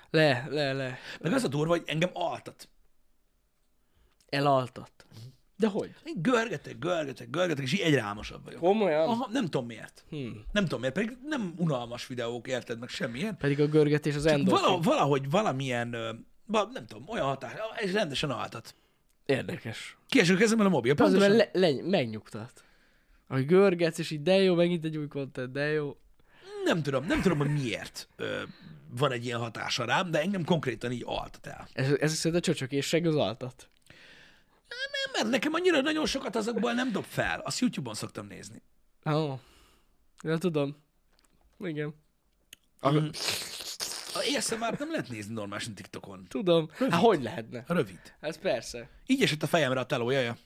S2: Le, le, le.
S1: Meg az a durva, hogy engem altat.
S2: Elaltat. De hogy?
S1: Én görgetek, görgetek, görgetek, és így egyre álmosabb vagyok.
S2: Komolyan?
S1: Aha, nem tudom miért.
S2: Hmm.
S1: Nem tudom miért, pedig nem unalmas videók, érted, meg semmilyen.
S2: Pedig a görgetés az endorfin.
S1: Vala, valahogy valamilyen, ö, val- nem tudom, olyan hatás, és rendesen altat.
S2: Érdekes.
S1: Kieső kezemben a mobil,
S2: Az,
S1: pontosan.
S2: mert le, le, megnyugtat. Ahogy görgetsz, és így de jó, megint egy új content, de jó.
S1: nem tudom, nem tudom, hogy miért ö, van egy ilyen hatása rám, de engem konkrétan így altat el.
S2: Ez, ez szerint a csöcsökésség az altat.
S1: Nem, mert nekem annyira nagyon sokat azokból nem dob fel. Azt YouTube-on szoktam nézni.
S2: Ó. Oh. Ja, tudom. Igen.
S1: A ASMR-t nem lehet nézni normálisan TikTokon.
S2: Tudom. Hát hogy lehetne?
S1: Rövid.
S2: Ez persze.
S1: Így esett a fejemre a teló, jaja.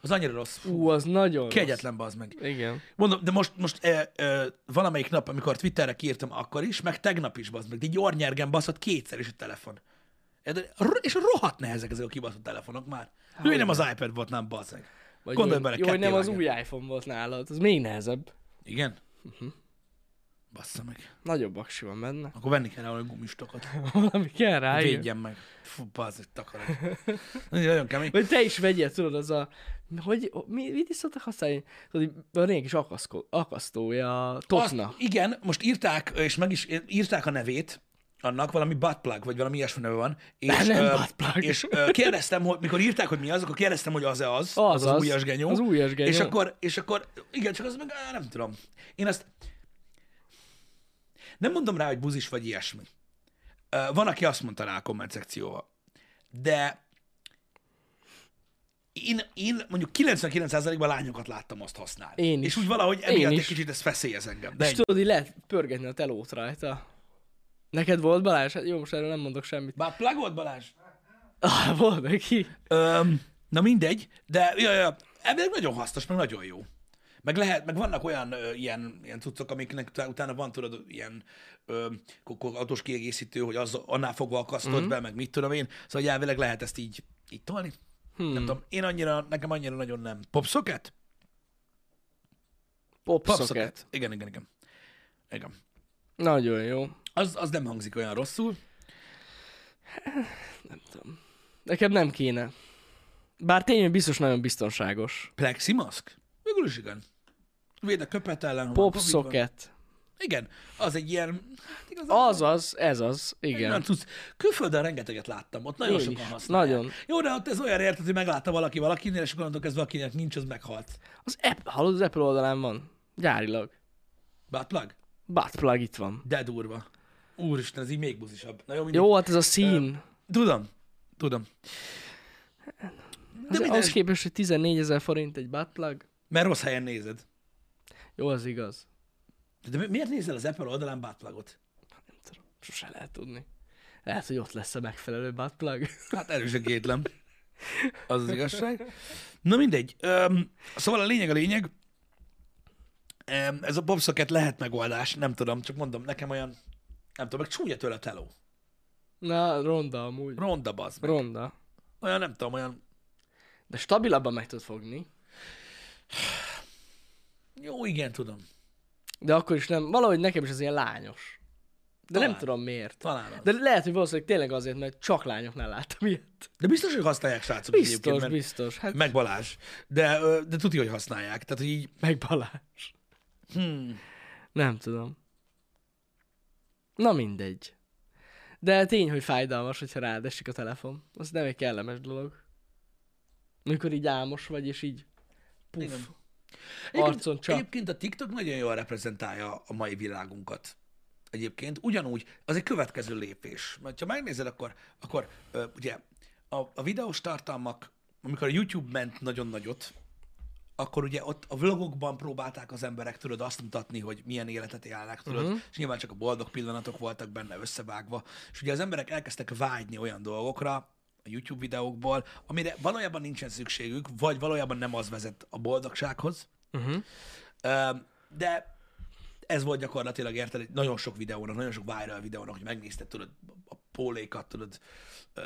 S1: Az annyira rossz. Fú,
S2: Ú, az nagyon rossz.
S1: Kegyetlen bazd meg.
S2: Igen.
S1: Mondom, de most, most e, e, valamelyik nap, amikor Twitterre kiírtam akkor is, meg tegnap is bazd meg, de így ornyergen baszott kétszer is a telefon. E, de ro- És rohadt nehezek ezek a kibaszott telefonok már. Ő nem az iPad volt, nem bazd meg.
S2: Vagy
S1: Gondolj
S2: jó,
S1: bele,
S2: jó, hogy
S1: ketté
S2: nem az
S1: vágja.
S2: új iPhone volt nálad. Az még nehezebb.
S1: Igen? Uh-huh.
S2: Mhm.
S1: Bassza meg.
S2: Nagyobb aksi van benne.
S1: Akkor venni kell olyan gumistokat.
S2: Valami kell rá, Hát igen.
S1: Védjen meg. Fú, bazd, meg, takarod. Nagyon kemény.
S2: Vagy te is vegyél, tudod, az a... Hogy, mi, mit is szoktak használni? Tudod, így van ilyen kis akaszko, akasztója a totna.
S1: Azt, igen, most írták, és meg is írták a nevét, annak valami buttplug, vagy valami ilyesmi neve van. És,
S2: nem
S1: ö,
S2: buttplug.
S1: és ö, kérdeztem, hogy mikor írták, hogy mi az, akkor kérdeztem, hogy az-e az, az, az, az
S2: az.
S1: újas genyó.
S2: Az újas genyó.
S1: És akkor, és akkor, igen, csak az meg, á, nem tudom. Én azt nem mondom rá, hogy buzis vagy ilyesmi. Ö, Van, aki azt mondta rá a komment szekcióba. De én, én mondjuk 99%-ban lányokat láttam azt használni.
S2: Én is.
S1: És úgy valahogy emiatt egy
S2: is.
S1: kicsit ez feszélyez engem. De
S2: És tudod, így lehet pörgetni a telót rajta. Neked volt Balázs? Hát jó, most erről nem mondok semmit.
S1: Bár plug volt, Balázs?
S2: Ah, volt neki.
S1: Öm, na mindegy, de ja, ja, elvileg nagyon hasznos, meg nagyon jó. Meg lehet, meg vannak olyan ö, ilyen, ilyen cuccok, amiknek utá- utána van, tudod, ilyen ö, ko- ko- autós kiegészítő, hogy az annál fogva akasztod mm-hmm. be, meg mit tudom én. Szóval hogy elvileg lehet ezt így, így tolni. Hmm. Nem tudom, én annyira, nekem annyira nagyon nem. Popsocket?
S2: Popsocket.
S1: Igen, igen, igen. Igen.
S2: Nagyon jó.
S1: Az, az nem hangzik olyan rosszul.
S2: Nekem nem kéne. Bár tényleg biztos nagyon biztonságos.
S1: Pleximask? Végül is igen. Véd a köpet ellen. ha már Covid van.
S2: Popsocket.
S1: Igen, az egy ilyen, hát igazán
S2: Az az, ez az,
S1: Igen.
S2: igen.
S1: Tudsz. Külföldön rengeteget láttam, ott nagyon
S2: Én
S1: sokan
S2: is.
S1: használják.
S2: Nagyon.
S1: Jó, de ott ez olyan érted, hogy meglátta valaki valakinél, és akkor onnantól kezdve akinek nincs, az meghalt.
S2: Az Apple, hallod, az Apple oldalán van. Gyárilag.
S1: Bátlag?
S2: Buttplug itt van.
S1: De durva. Úristen, ez így még buzisabb. Na jó, mindegy.
S2: Jó, hát ez a szín.
S1: Tudom, tudom. De
S2: Az,
S1: minden,
S2: az képest, hogy 14 ezer forint egy buttplug.
S1: mert rossz helyen nézed.
S2: Jó, az igaz.
S1: De mi- miért nézel az Apple oldalán bátlagot?
S2: Nem tudom, sose lehet tudni. Lehet, hogy ott lesz a megfelelő buttplug.
S1: Hát erősen kétlem. Az az igazság. Na mindegy. Öm, szóval a lényeg a lényeg. Öm, ez a bobszoket lehet megoldás, nem tudom, csak mondom, nekem olyan, nem tudom, meg csúnya tőle a teló.
S2: Na, ronda amúgy.
S1: Ronda bazd meg.
S2: Ronda.
S1: Olyan, nem tudom, olyan
S2: De stabilabban meg tudod fogni.
S1: jó, igen, tudom.
S2: De akkor is nem, valahogy nekem is az ilyen lányos. De
S1: Talán.
S2: nem tudom miért.
S1: Talán az.
S2: De
S1: De,
S2: lehet, hogy valószínűleg tényleg azért, mert csak lányoknál láttam ilyet.
S1: de biztos, hogy használják srácok
S2: Biztos,
S1: mert
S2: biztos. Hát
S1: meg Balázs. De, ö, de tudja, hogy használják. Tehát, hogy így,
S2: meg Balázs.
S1: hmm,
S2: Nem tudom. Na mindegy. De tény, hogy fájdalmas, hogyha rád esik a telefon. Az nem egy kellemes dolog. Mikor így álmos vagy, és így puff.
S1: Igen.
S2: Arcon csak.
S1: Egyébként a TikTok nagyon jól reprezentálja a mai világunkat. Egyébként ugyanúgy, az egy következő lépés. Mert ha megnézed, akkor, akkor ö, ugye a, a videós tartalmak, amikor a YouTube ment nagyon nagyot, akkor ugye ott a vlogokban próbálták az emberek, tudod, azt mutatni, hogy milyen életet élnek, tudod,
S2: Mhm.
S1: uh-huh. és nyilván csak a boldog pillanatok voltak benne összevágva, és ugye az emberek elkezdtek vágyni olyan dolgokra a YouTube videókból, amire valójában nincsen szükségük, vagy valójában nem az vezet a boldogsághoz, Öm, de ez volt gyakorlatilag, érted, egy nagyon sok videónak, nagyon sok viral videónak, hogy megnézted, tudod, a pólékat, tudod, öm,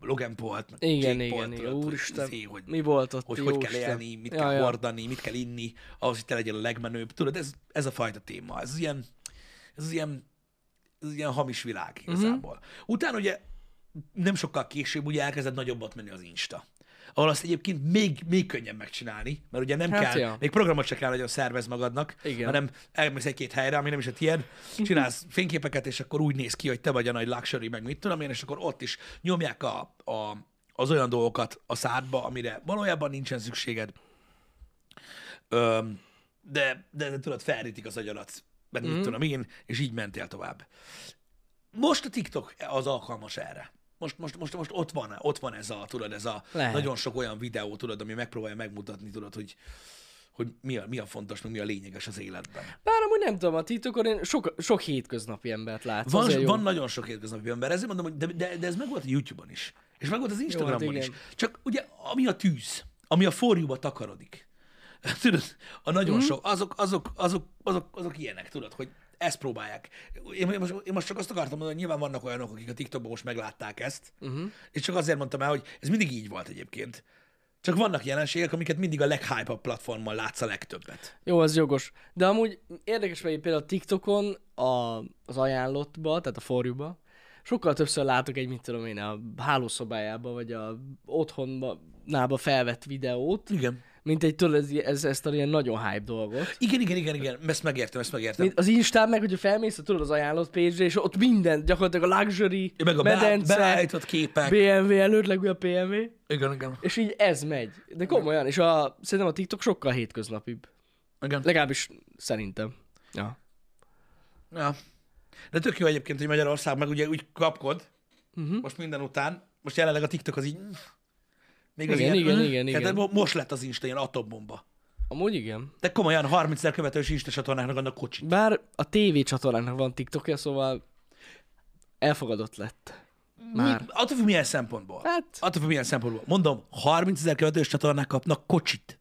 S1: Logan Paul-t, meg
S2: Igen,
S1: Jake
S2: igen,
S1: Paul-t,
S2: igen.
S1: tudod, hogy
S2: Úristen,
S1: izé, hogy,
S2: mi volt ott?
S1: hogy, hogy kell
S2: Jóisten.
S1: élni, mit
S2: Ja,
S1: kell
S2: ja.
S1: hordani, mit kell inni, ahhoz, hogy te legyél a legmenőbb. Tudod, ez, ez a fajta téma. Ez az ilyen, ez az ilyen, ez az ilyen hamis világ
S2: Mhm.
S1: igazából. Utána ugye nem sokkal később ugye elkezdett nagyobbat menni az Insta. Ahol azt egyébként még, még könnyebb megcsinálni, mert ugye nem
S2: Hát
S1: kell,
S2: ja.
S1: még programot se kell nagyon szervez magadnak,
S2: Igen.
S1: hanem elmész egy-két helyre, ami nem is a tiéd, csinálsz fényképeket, és akkor úgy néz ki, hogy te vagy a nagy luxury, meg mit tudom én, és akkor ott is nyomják a, a, az olyan dolgokat a szádba, amire valójában nincsen szükséged. Öm, de, de, de tudod, felrítik az agyadat meg mit tudom én, és így mentél tovább. Most a TikTok az alkalmas erre. Most, most, most, most ott van, ott van ez a, tudod, ez a
S2: Lehet.
S1: nagyon sok olyan videó, tudod, ami megpróbálja megmutatni, tudod, hogy, hogy mi, a, mi a fontos, meg mi a lényeges az életben.
S2: Bár amúgy nem tudom, a TikTokon én sok, sok hétköznapi embert látsz.
S1: Van,
S2: azért jó.
S1: van nagyon sok hétköznapi ember, ezért mondom, hogy de, de, de ez meg volt a YouTube-on is. És meg volt az Instagramon
S2: igen.
S1: is. Csak ugye, ami a tűz, ami a forjúba takarodik. Tudod, a nagyon mm. sok, azok, azok, azok, azok, azok ilyenek, tudod, hogy ezt próbálják. Én, én, most, én most csak azt akartam mondani, hogy nyilván vannak olyanok, akik a TikTokban most meglátták ezt, uh-huh. és csak azért mondtam el, hogy ez mindig így volt egyébként. Csak vannak jelenségek, amiket mindig a leghype platformon látsz a legtöbbet.
S2: Jó, az jogos. De amúgy érdekes, hogy például a TikTokon a, az ajánlottba, tehát a forjúba, sokkal többször látok egy, mit tudom én, a hálószobájába, vagy a otthonába felvett videót,
S1: Igen.
S2: mint egy tudod, ez, ez, ezt a ilyen nagyon hype dolgot.
S1: Igen, igen, igen, igen, ezt megértem, ezt megértem.
S2: Mint az Instán meg, hogyha felmész, tudod az ajánlott page és ott minden, gyakorlatilag a luxury,
S1: Ja, meg a beá-
S2: medence,
S1: beállított képek.
S2: BMW előtt, legújabb BMW,
S1: Igen, igen.
S2: és így ez megy. De komolyan, és a, szerintem a TikTok sokkal hétköznapibb.
S1: igen.
S2: Legalábbis szerintem. Ja.
S1: Ja. De tök jó egyébként, hogy Magyarország meg ugye úgy kapkod,
S2: Mhm.
S1: uh-huh. most minden után, most jelenleg a TikTok az így... Még
S2: Igen, igen, igen, igen.
S1: Tehát mo- most lett az Insta ilyen atombomba.
S2: Amúgy igen.
S1: De komolyan 30 ezer követős Insta csatornáknak annak kocsi.
S2: Bár a TV csatornának van TikTokja, szóval elfogadott lett. Már.
S1: Mi, attól függ milyen szempontból.
S2: Hát,
S1: Attól függ milyen szempontból. Mondom, 30 ezer követős csatornák kapnak kocsit.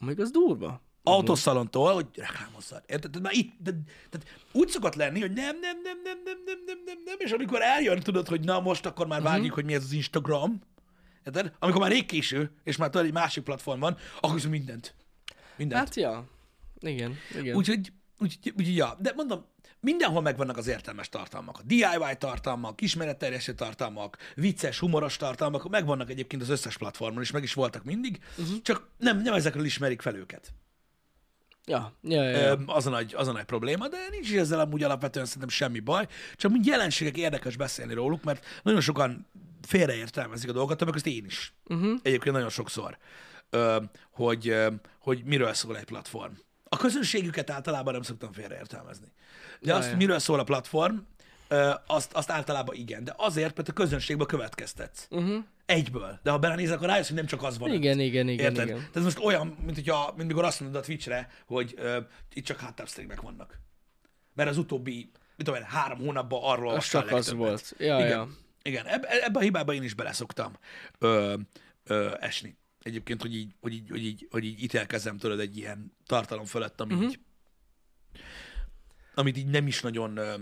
S2: még az durva. Hát,
S1: Mhm. Autószalontól, hogy reklámozzad. Érted? Tehát már itt, de, tehát úgy szokott lenni, hogy nem, nem, nem, nem, nem, nem, nem, nem, nem, és amikor eljön, tudod, hogy na most akkor már vágjuk, hogy mi ez az Instagram, érted? Amikor már rég késő, és már tudod, egy másik platform van, akkor viszont mindent. Mindent. Hát,
S2: Hát, ja. Igen, igen. Úgy,
S1: úgyhogy, úgyhogy, úgyhogy, ja. De mondom, mindenhol megvannak az értelmes tartalmak. A DIY tartalmak, ismeretterjesztő tartalmak, vicces, humoros tartalmak, megvannak egyébként az összes platformon, és meg is voltak mindig, uh-huh. csak nem, nem ezekről ismerik fel őket.
S2: ja, ja, ja, ja.
S1: Öm, az a, nagy, az a nagy probléma, de nincs is ezzel amúgy alapvetően szerintem semmi baj, csak mint jelenségek érdekes beszélni róluk, mert nagyon sokan félreértelmezik a dolgot, többek között én is.
S2: Mhm.
S1: Uh-huh. Egyébként nagyon sokszor, öm, hogy, öm, hogy miről szól egy platform. A közönségüket általában nem szoktam félreértelmezni. De azt,
S2: Jaj.
S1: hogy miről szól a platform, ö, azt, azt általában igen, de azért, mert a közönségbe következtetsz. Uh-huh. Egyből. De ha belenézel, akkor rájössz, hogy nem csak az van. ott.
S2: Mhm. igen, igen, igen,
S1: Érted?
S2: igen.
S1: Tehát ez most olyan, mint, hogyha, mint mikor azt mondod a Twitchre, hogy ö, itt csak háttávstreamek vannak. Mert az utóbbi, mit tudom én, három hónapban arról
S2: Az
S1: olvastál
S2: csak az
S1: legtöbbet.
S2: volt. Ja,
S1: Igen,
S2: ja.
S1: igen. Eb- e-, ebbe a hibába én is beleszoktam ö, ö, esni. Egyébként, hogy így, hogy így, hogy így, hogy így ítélkezem tőled egy ilyen tartalom fölött,
S2: Mhm.
S1: ami így, amit így nem is nagyon ö,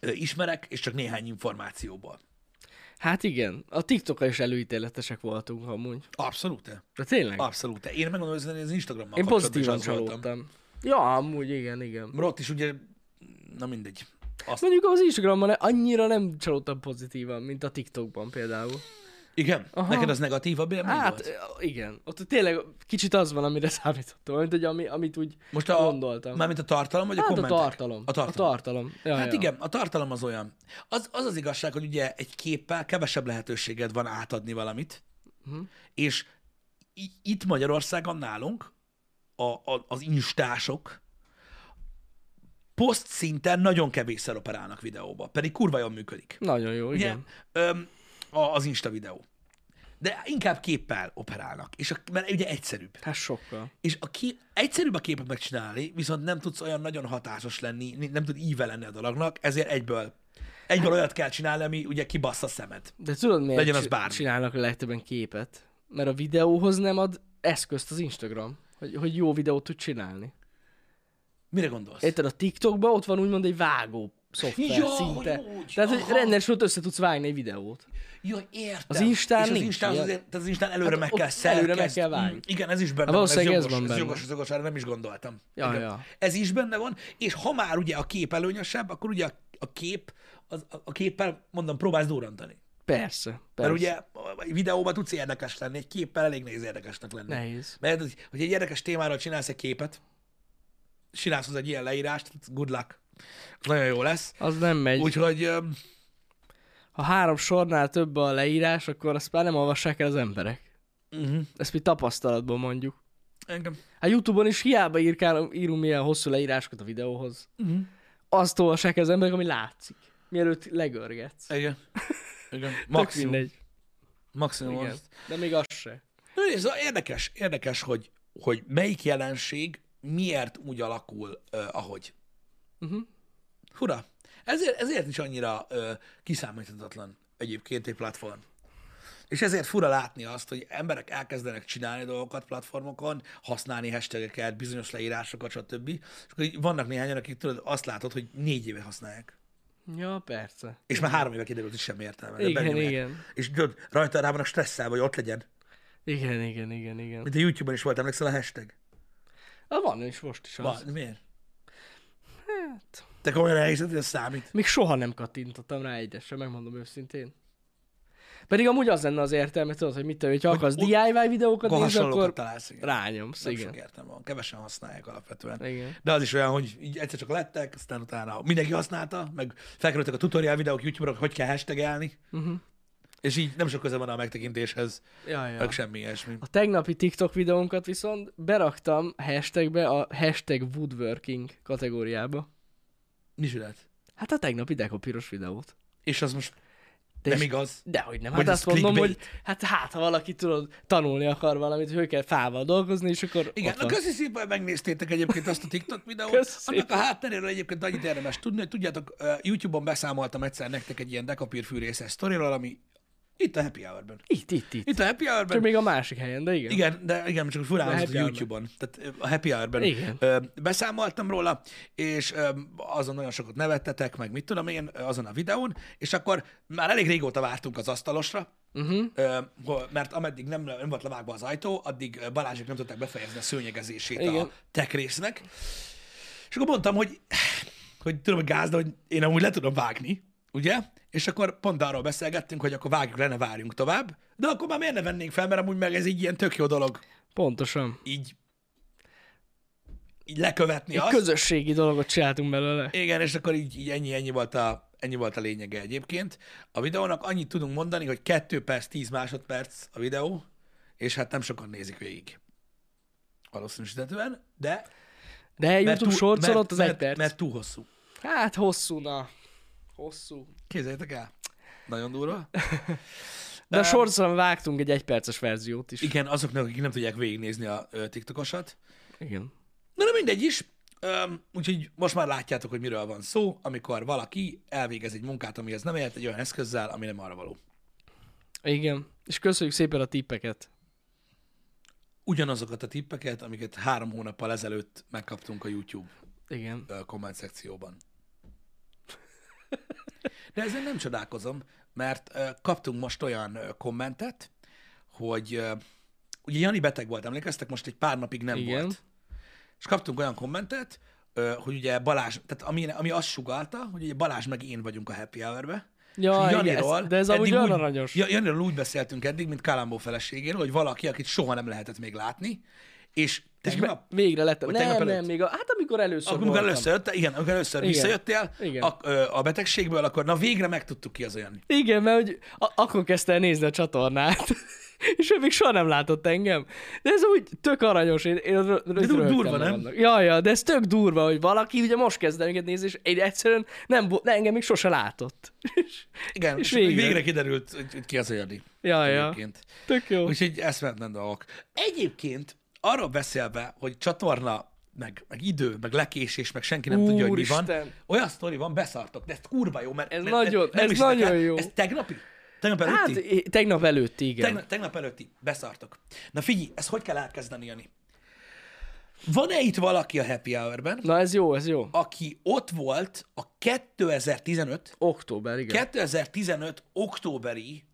S1: ö, ismerek, és csak néhány információból.
S2: Hát igen, a TikTokra is előítéletesek voltunk amúgy.
S1: Abszolút.
S2: De tényleg?
S1: Abszolút. Én megmondom, hogy az Instagrammal
S2: Én
S1: kapcsolatban Ah, is
S2: pozitívan
S1: az voltam.
S2: csalódtam. Ja, amúgy igen, igen.
S1: Mert ott is ugye, na mindegy. Azt...
S2: Mondjuk az Instagramon annyira nem csalódtam pozitívan, mint a TikTokban például.
S1: Igen? Aha. Neked az negatívabb élmény hát...
S2: Hát
S1: volt?
S2: igen, ott tényleg kicsit az van, amire számítottam, mint hogy ami, amit úgy
S1: Most a,
S2: gondoltam.
S1: Mármint a tartalom, vagy a
S2: hát a
S1: kommentek?
S2: tartalom.
S1: A tartalom.
S2: A tartalom. Ja,
S1: Hát
S2: ja.
S1: igen, a tartalom az olyan. Az, az az igazság, hogy ugye egy képpel kevesebb lehetőséged van átadni valamit,
S2: Mhm.
S1: és i- itt Magyarországon nálunk a, a, az instások poszt szinten nagyon kevésszer operálnak videóba, pedig kurva jól működik.
S2: Nagyon jó,
S1: Ugye?
S2: igen.
S1: Öm, a- az Insta videó. De inkább képpel operálnak, és a, mert ugye egyszerűbb.
S2: Hát sokkal.
S1: És a kép, egyszerűbb a képet megcsinálni, viszont nem tudsz olyan nagyon hatásos lenni, ni- nem tud íve lenni a dolognak, ezért egyből, egyből olyat kell csinálni, ami ugye kibassz a szemed.
S2: De tudod miért
S1: Legyen az
S2: csi-
S1: bármi.
S2: csinálnak a legtöbben képet? Mert a videóhoz nem ad eszközt az Instagram, hogy, hogy jó videót tud csinálni.
S1: Mire gondolsz?
S2: Érted, a TikTokban ott van úgymond egy vágó szoftver
S1: Ja,
S2: szinte.
S1: hogy úgy,
S2: Tehát, hogy
S1: aha.
S2: rendesen ott össze tudsz vágni egy videót.
S1: Jaj, értem.
S2: Az Instán
S1: És az
S2: nincs
S1: Instán, az,
S2: ilyen.
S1: azért- tehát az Instán előre
S2: Hát
S1: meg
S2: ott
S1: kell
S2: előre meg
S1: szerkeszt-
S2: kell vágni.
S1: Mm, Igen, ez is benne
S2: Hát
S1: van. Ez
S2: valószínűleg
S1: jogos,
S2: ez
S1: ez,
S2: van benne.
S1: jogos, ez jogos, erre nem is gondoltam.
S2: Ja,
S1: Igen.
S2: ja.
S1: Ez is benne van, és ha már ugye a kép előnyösebb, akkor ugye a, a kép, az, a- a képpel, mondom, próbálsz durrantani.
S2: Persze, persze.
S1: Mert ugye a- egy videóban tudsz érdekes lenni, egy képpel elég nehéz érdekesnek lenni.
S2: Nehéz.
S1: Mert hogy- hogy egy érdekes témáról csinálsz egy képet, és csinálsz hozzá egy ilyen leírást, good luck. Az nagyon jó lesz.
S2: Az nem megy.
S1: Úgyhogy öm,
S2: ha három sornál több a leírás, akkor azt már nem olvassák el az emberek. Uh-huh. Ezt mi tapasztalatból mondjuk.
S1: mhm, Engem.
S2: A Youtube-on is hiába írkálom, írunk milyen hosszú leírásokat a videóhoz.
S1: Mhm.
S2: Azt olvassák az emberek, ami látszik. Mielőtt legörgetsz.
S1: Igen. Igen.
S2: Tök
S1: Maximum.
S2: mindegy.
S1: Maximum
S2: Igen.
S1: azt.
S2: De még az se.
S1: Na, nézd, szóval érdekes, érdekes, hogy, hogy melyik jelenség miért úgy alakul, uh, ahogy.
S2: Uh-huh.
S1: Hura. Ezért, ezért is annyira uh, kiszámíthatatlan egyébként egy platform. És ezért fura látni azt, hogy emberek elkezdenek csinálni dolgokat platformokon, használni hashtageket, bizonyos leírásokat, stb. És akkor így vannak néhányan, akik tudod, azt látod, hogy négy éve használják.
S2: Ja, persze.
S1: És már három éve kiderült, hogy semmi értelme. de
S2: Igen,
S1: benyomják.
S2: igen.
S1: És tudod, rajta rá vannak stresszelve, hogy ott legyen.
S2: Igen, igen, igen, igen.
S1: Mint a YouTube-on is volt, emlékszel a hashtag?
S2: Ah, van is most is az.
S1: Van, miért?
S2: Hát,
S1: Te komolyan elhiszed, hogy ez számít?
S2: még soha nem kattintottam rá egyesre, megmondom őszintén. Pedig amúgy az lenne az értelme, tudod, hogy mit tudom, hogyha akarsz
S1: ott-
S2: DIY videókat
S1: Akkor
S2: nézni,
S1: hasonlókat
S2: akkor
S1: találsz. Igen.
S2: rányomsz,
S1: Nem sok
S2: igen.
S1: értelme van, kevesen használják alapvetően.
S2: Igen.
S1: De az is olyan, hogy így egyszer csak lettek, aztán utána mindenki használta, meg felkerültek a tutorial videók YouTube-ra, hogy kell hashtagelni,
S2: Uh-huh.
S1: és így nem sok köze van a megtekintéshez,
S2: Ja, ja.
S1: meg semmi ilyesmi.
S2: A tegnapi TikTok videónkat viszont beraktam hashtagbe a hashtag woodworking kategóriába.
S1: Mi zsület?
S2: Hát a tegnapi dekopíros videót.
S1: És az most
S2: De
S1: nem
S2: és-
S1: igaz.
S2: Dehogy nem.
S1: Vagy
S2: Hát
S1: ez
S2: azt mondom, hogy
S1: clickbait?
S2: hát, hát ha valaki tudod, tanulni akar valamit, hogy hogy kell fával dolgozni, és akkor
S1: Igen,
S2: ott
S1: na
S2: van.
S1: köszi szépen, hogy megnéztétek egyébként azt a TikTok videót.
S2: Köszi szépen.
S1: Annak a hátteréről egyébként annyit érdemes tudni, hogy tudjátok, ö, YouTube-on beszámoltam egyszer nektek egy ilyen dekapírfűrészes sztoriról, ami itt a Happy Hour-ben.
S2: Itt, itt, itt.
S1: Itt a Happy Hour-ben
S2: Csak még a másik helyen, de igen.
S1: Igen, de igen, csak furán
S2: De
S1: hangzott, hogy
S2: Happy
S1: YouTube-on, tehát ö, a Happy Hour-ben
S2: Igen.
S1: ö, beszámoltam róla, és ö, azon nagyon sokat nevettetek, meg mit tudom én, ö, azon a videón, és akkor már elég régóta vártunk az asztalosra,
S2: Uh-huh.
S1: ö, ho- mert ameddig nem, nem volt levágva az ajtó, addig ö, Balázsik nem tudták befejezni a szőnyegezését a
S2: Igen.
S1: tech résznek. És akkor mondtam, hogy, hogy tudom, hogy gáz, de hogy én amúgy le tudom vágni, ugye? És akkor pont arról beszélgettünk, hogy akkor vágjuk le, ne várjunk tovább, de akkor már miért ne vennénk fel, mert amúgy meg ez így ilyen tök jó dolog
S2: Pontosan.
S1: így, így lekövetni
S2: Egy
S1: azt.
S2: közösségi dolgot csináltunk belőle.
S1: Igen, és akkor így, így ennyi, ennyi volt a ennyi volt a lényege egyébként. A videónak annyit tudunk mondani, hogy 2 perc, 10 másodperc a videó, és hát nem sokan nézik végig. Valószínűsítetően, de...
S2: De YouTube shortson ott az
S1: mert,
S2: egy perc.
S1: Mert túl hosszú.
S2: Hát hosszú, na. Hosszú.
S1: Képzeljétek el. Nagyon durva.
S2: De a shortson vágtunk egy egyperces verziót is.
S1: Igen, azoknak, akik nem tudják végignézni a ö, TikTokosat,
S2: Igen.
S1: Na de mindegy is. Öm, úgyhogy most már látjátok, hogy miről van szó, amikor valaki elvégez egy munkát, amihez nem élt, egy olyan eszközzel, ami nem arra való.
S2: Igen. És köszönjük szépen a tippeket.
S1: Ugyanazokat a tippeket, amiket három hónappal ezelőtt megkaptunk a YouTube
S2: Igen.
S1: ö, komment szekcióban. De ezen nem csodálkozom, mert ö, kaptunk most olyan ö, kommentet, hogy ö, ugye Jani beteg volt, emlékeztek? Most egy pár napig nem
S2: Igen.
S1: volt. És kaptunk olyan kommentet, ö, hogy ugye Balázs, tehát ami, ami azt sugalta, hogy ugye Balázs meg én vagyunk a happy hour-be.
S2: Ja,
S1: És
S2: igen, ez, de ez amúgy
S1: eddig
S2: olyan
S1: úgy-
S2: aranyos.
S1: Ja, Janiról úgy beszéltünk eddig, mint Kalambó feleségéről, hogy valaki, akit soha nem lehetett még látni, és
S2: és
S1: tegnap,
S2: be, végre lettem.
S1: Vagy
S2: Nem,
S1: tegnap
S2: nem,
S1: előtt?
S2: még a, hát amikor először
S1: Akkor, amikor
S2: voltam.
S1: először, jött, igen, amikor először
S2: Igen.
S1: visszajöttél
S2: Igen.
S1: A, ö, a betegségből, akkor na végre megtudtuk ki az olyan.
S2: Igen, mert hogy a- akkor kezdte el nézni a csatornát. és ő még soha nem látott engem. De ez úgy tök aranyos. Én, én rö- rö-
S1: du-
S2: röhögtem
S1: durva, nem?
S2: magamnak. Ja, ja, de ez tök durva, hogy valaki ugye most kezd el engem nézni, és én egyszerűen nem, vo- ne, engem még sose látott. És-
S1: Igen, és,
S2: És
S1: végre.
S2: végre.
S1: kiderült, hogy, hogy ki az olyan.
S2: ja, ja,
S1: Egyébként.
S2: tök jó.
S1: Úgyhogy eszmetlen dolgok. Egyébként arról beszélve, hogy csatorna, meg, meg idő, meg lekésés, meg senki nem tudja, hogy mi van.
S2: Úristen.
S1: Olyan sztori van, beszartok, de ez kurva jó, mert
S2: Ez
S1: mert-
S2: nagyon-
S1: nem
S2: ez
S1: is érdekel.
S2: nagyon jó.
S1: Ez tegnapi? Tegnap
S2: Hát,
S1: előtti?
S2: é- tegnap előtt, igen.
S1: Tegnap, tegnap előtti, beszartok. Na figyelj, ezt hogy kell elkezdeni, Jani? Van-e itt valaki a Happy Hour-ben,
S2: Na ez jó, ez jó.
S1: aki ott volt a 2015,
S2: Október, igen.
S1: 2015 októberi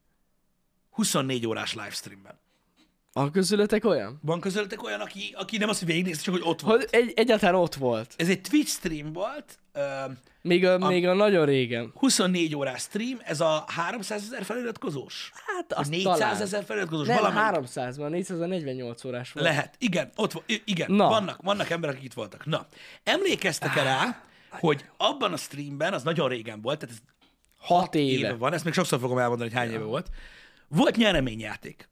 S1: 24 órás livestreamben.
S2: A közületek olyan?
S1: Van közöletek olyan, aki, aki nem azt, hogy végignézte, csak hogy ott volt.
S2: Hogy egy, egyáltalán ott volt.
S1: Ez egy Twitch stream volt, ö,
S2: Még a, még a nagyon régen.
S1: 24 órás stream, ez a 300 ezer feliratkozós?
S2: Hát
S1: A
S2: azt
S1: 400
S2: talán.
S1: ezer feliratkozós?
S2: Nem,
S1: Valamelyik.
S2: 300 van, 448 órás volt.
S1: Lehet, igen, ott vo- i- igen,
S2: Na. Ah.
S1: vannak, vannak emberek, akik itt voltak. Na, emlékeztek -e rá, hogy abban a streamben, az nagyon régen volt, tehát ez
S2: Hat éve.
S1: éve van, ezt még sokszor fogom elmondani, hogy hány éve volt, volt nyereményjáték.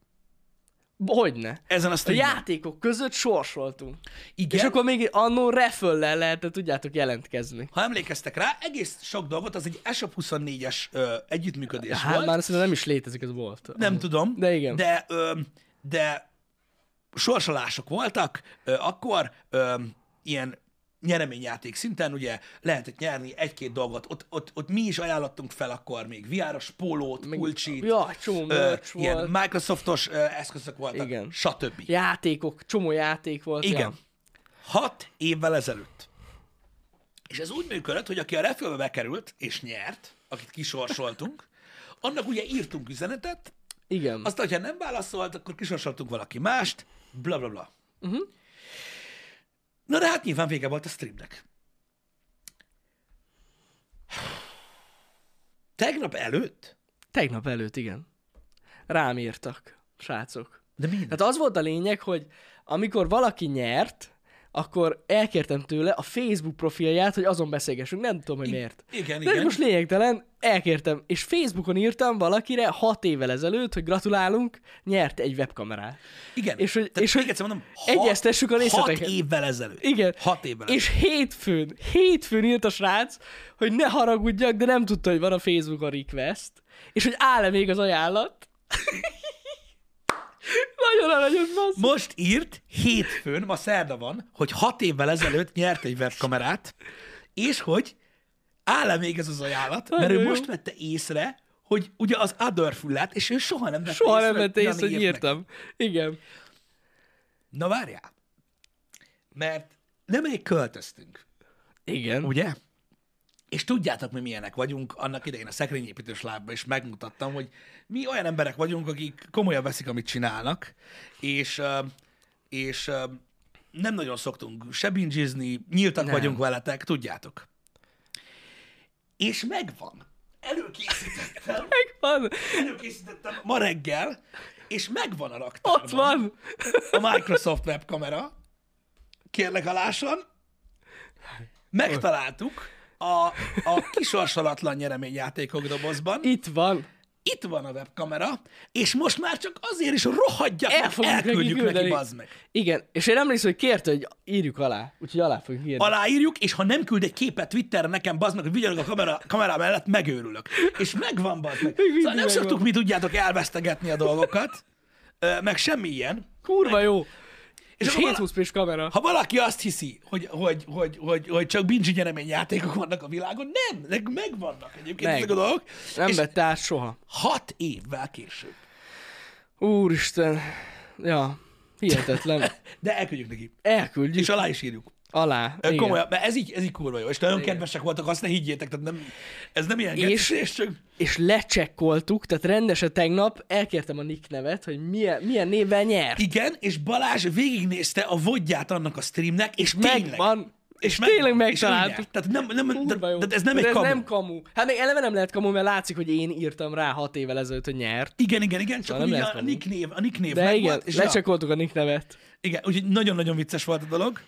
S2: Hogyne.
S1: Ezen a
S2: A
S1: streamen.
S2: játékok között sorsoltunk.
S1: Igen.
S2: És akkor még annó reföllel lehetett, tudjátok, jelentkezni.
S1: ha emlékeztek rá, egész sok dolgot, az egy ESOP 24-es ö, együttműködés
S2: Hát
S1: volt.
S2: már szerintem nem is létezik, ez volt.
S1: Nem tudom.
S2: De igen.
S1: De, ö, de sorsolások voltak, ö, akkor ö, ilyen nyereményjáték szinten ugye lehetett nyerni egy-két dolgot. Ott, ott, ott mi is ajánlottunk fel akkor még VR-os pólót, kulcsit,
S2: Ja, csomó
S1: ö,
S2: merch
S1: ilyen
S2: volt.
S1: Microsoftos ö, eszközök voltak,
S2: Igen.
S1: stb.
S2: Játékok, csomó játék volt.
S1: Igen.
S2: Ja.
S1: Hat évvel ezelőtt. És ez úgy működött, hogy aki a refölbe bekerült és nyert, akit kisorsoltunk, annak ugye írtunk üzenetet,
S2: Igen.
S1: azt, hogyha nem válaszolt, akkor kisorsoltunk valaki mást, bla bla bla. Uh-huh.
S2: Mhm.
S1: Na de hát nyilván vége volt a streamnek. Tegnap előtt?
S2: Tegnap előtt, igen. Rám írtak, srácok.
S1: De mi?
S2: Tehát az volt a lényeg, hogy amikor valaki nyert, akkor elkértem tőle a Facebook profilját, hogy azon beszélgessünk. Nem tudom, hogy miért.
S1: Igen,
S2: De ez
S1: igen.
S2: most lényegtelen, elkértem. És Facebookon írtam valakire hat évvel ezelőtt, hogy gratulálunk, nyert egy webkamerát.
S1: igen.
S2: és hogy-
S1: Tehát
S2: és hogy
S1: még egyszer mondom, hat,
S2: egyeztessük a
S1: hat
S2: részleteket.
S1: évvel ezelőtt.
S2: Igen.
S1: Hat évvel
S2: És hétfőn, hétfőn írt a srác, hogy ne haragudjak, de nem tudta, hogy van a Facebookon request, és hogy áll-e még az ajánlat. nagyon aranyos, bassz.
S1: Most írt hétfőn, ma szerda van, hogy hat évvel ezelőtt nyert egy webkamerát, és hogy áll-e még ez az ajánlat, mert ő
S2: Nagyon jó.
S1: most vette észre, hogy ugye az other füllet, és ő soha nem vette
S2: Soha
S1: észre,
S2: nem vette
S1: Dani
S2: észre, hogy
S1: írt neki.
S2: írtam. Igen.
S1: Na várjál, mert nemrég költöztünk,
S2: Igen.
S1: ugye? És tudjátok, mi milyenek vagyunk, annak idején a szekrényépítős lábba is megmutattam, hogy mi olyan emberek vagyunk, akik komolyan veszik, amit csinálnak, és, ö, és ö, nem nagyon szoktunk se bingizni, nyíltak nem. vagyunk veletek, tudjátok. És megvan. Előkészítettem,
S2: Megvan.
S1: előkészítettem ma reggel, és megvan a raktárban
S2: Ott van.
S1: a Microsoft webkamera. Kérlek alásan. Megtaláltuk a, a kisorsolatlan nyereményjátékok dobozban.
S2: Itt van.
S1: Itt van a webkamera, és most már csak azért is rohadjak,
S2: El
S1: meg,
S2: fogjuk neki
S1: elküldjük neki,
S2: küldeni.
S1: bazd meg.
S2: Igen. És én emlékszem, hogy kérte, hogy írjuk alá. Úgyhogy alá fogjuk írni.
S1: Aláírjuk, és ha nem küld egy képet Twitterre nekem, bazd meg, hogy vigyázok a kamera, kamerám mellett, megőrülök. És megvan, bazd meg.
S2: mindig
S1: Szóval nem
S2: megvan.
S1: szoktuk, mi tudjátok, elvesztegetni a dolgokat, ö, meg semmi ilyen.
S2: Kurva jó. És,
S1: És
S2: és
S1: akkor vala-
S2: 720 p kamera.
S1: Ha valaki azt hiszi, hogy, hogy, hogy, hogy, hogy csak binge nyereményjátékok vannak a világon, nem, meg- megvannak egyébként
S2: Meg.
S1: ezek a dolgok.
S2: Nem
S1: és
S2: vette át soha.
S1: hat évvel később.
S2: Úristen. Ja. Hihetetlen.
S1: De elküldjük neki.
S2: Elküldjük.
S1: És alá is írjuk.
S2: Alá.
S1: Igen.
S2: igen.
S1: Komolyan, mert ez így, ez így kurva jó. És nagyon Igen. kedvesek voltak, azt ne higgyétek. Tehát nem, ez nem ilyen
S2: És-
S1: és csak...
S2: És lecsekkoltuk, tehát rendesen tegnap elkértem a nick nevet, hogy milyen, milyen névvel nyert.
S1: Igen, és Balázs végignézte a vodját annak a streamnek, és, tényleg.
S2: Megvan.
S1: És,
S2: És tényleg
S1: megvan, és
S2: megtaláltuk.
S1: úgy nyert. Tehát, nem, nem,
S2: Kurva jó.
S1: tehát ez nem egy
S2: ez
S1: kamu.
S2: nem kamu. Hát még eleve nem lehet kamu, mert látszik, hogy én írtam rá hat évvel ezelőtt, hogy nyert.
S1: Igen, igen, igen, csak
S2: Na, Szóval nem
S1: ugye
S2: lehet
S1: a
S2: kamu.
S1: nick név, a nick név
S2: De
S1: megvolt,
S2: igen,
S1: és ja,
S2: lecsekkoltuk a nick nevet.
S1: igen, úgyhogy nagyon-nagyon vicces volt a dolog.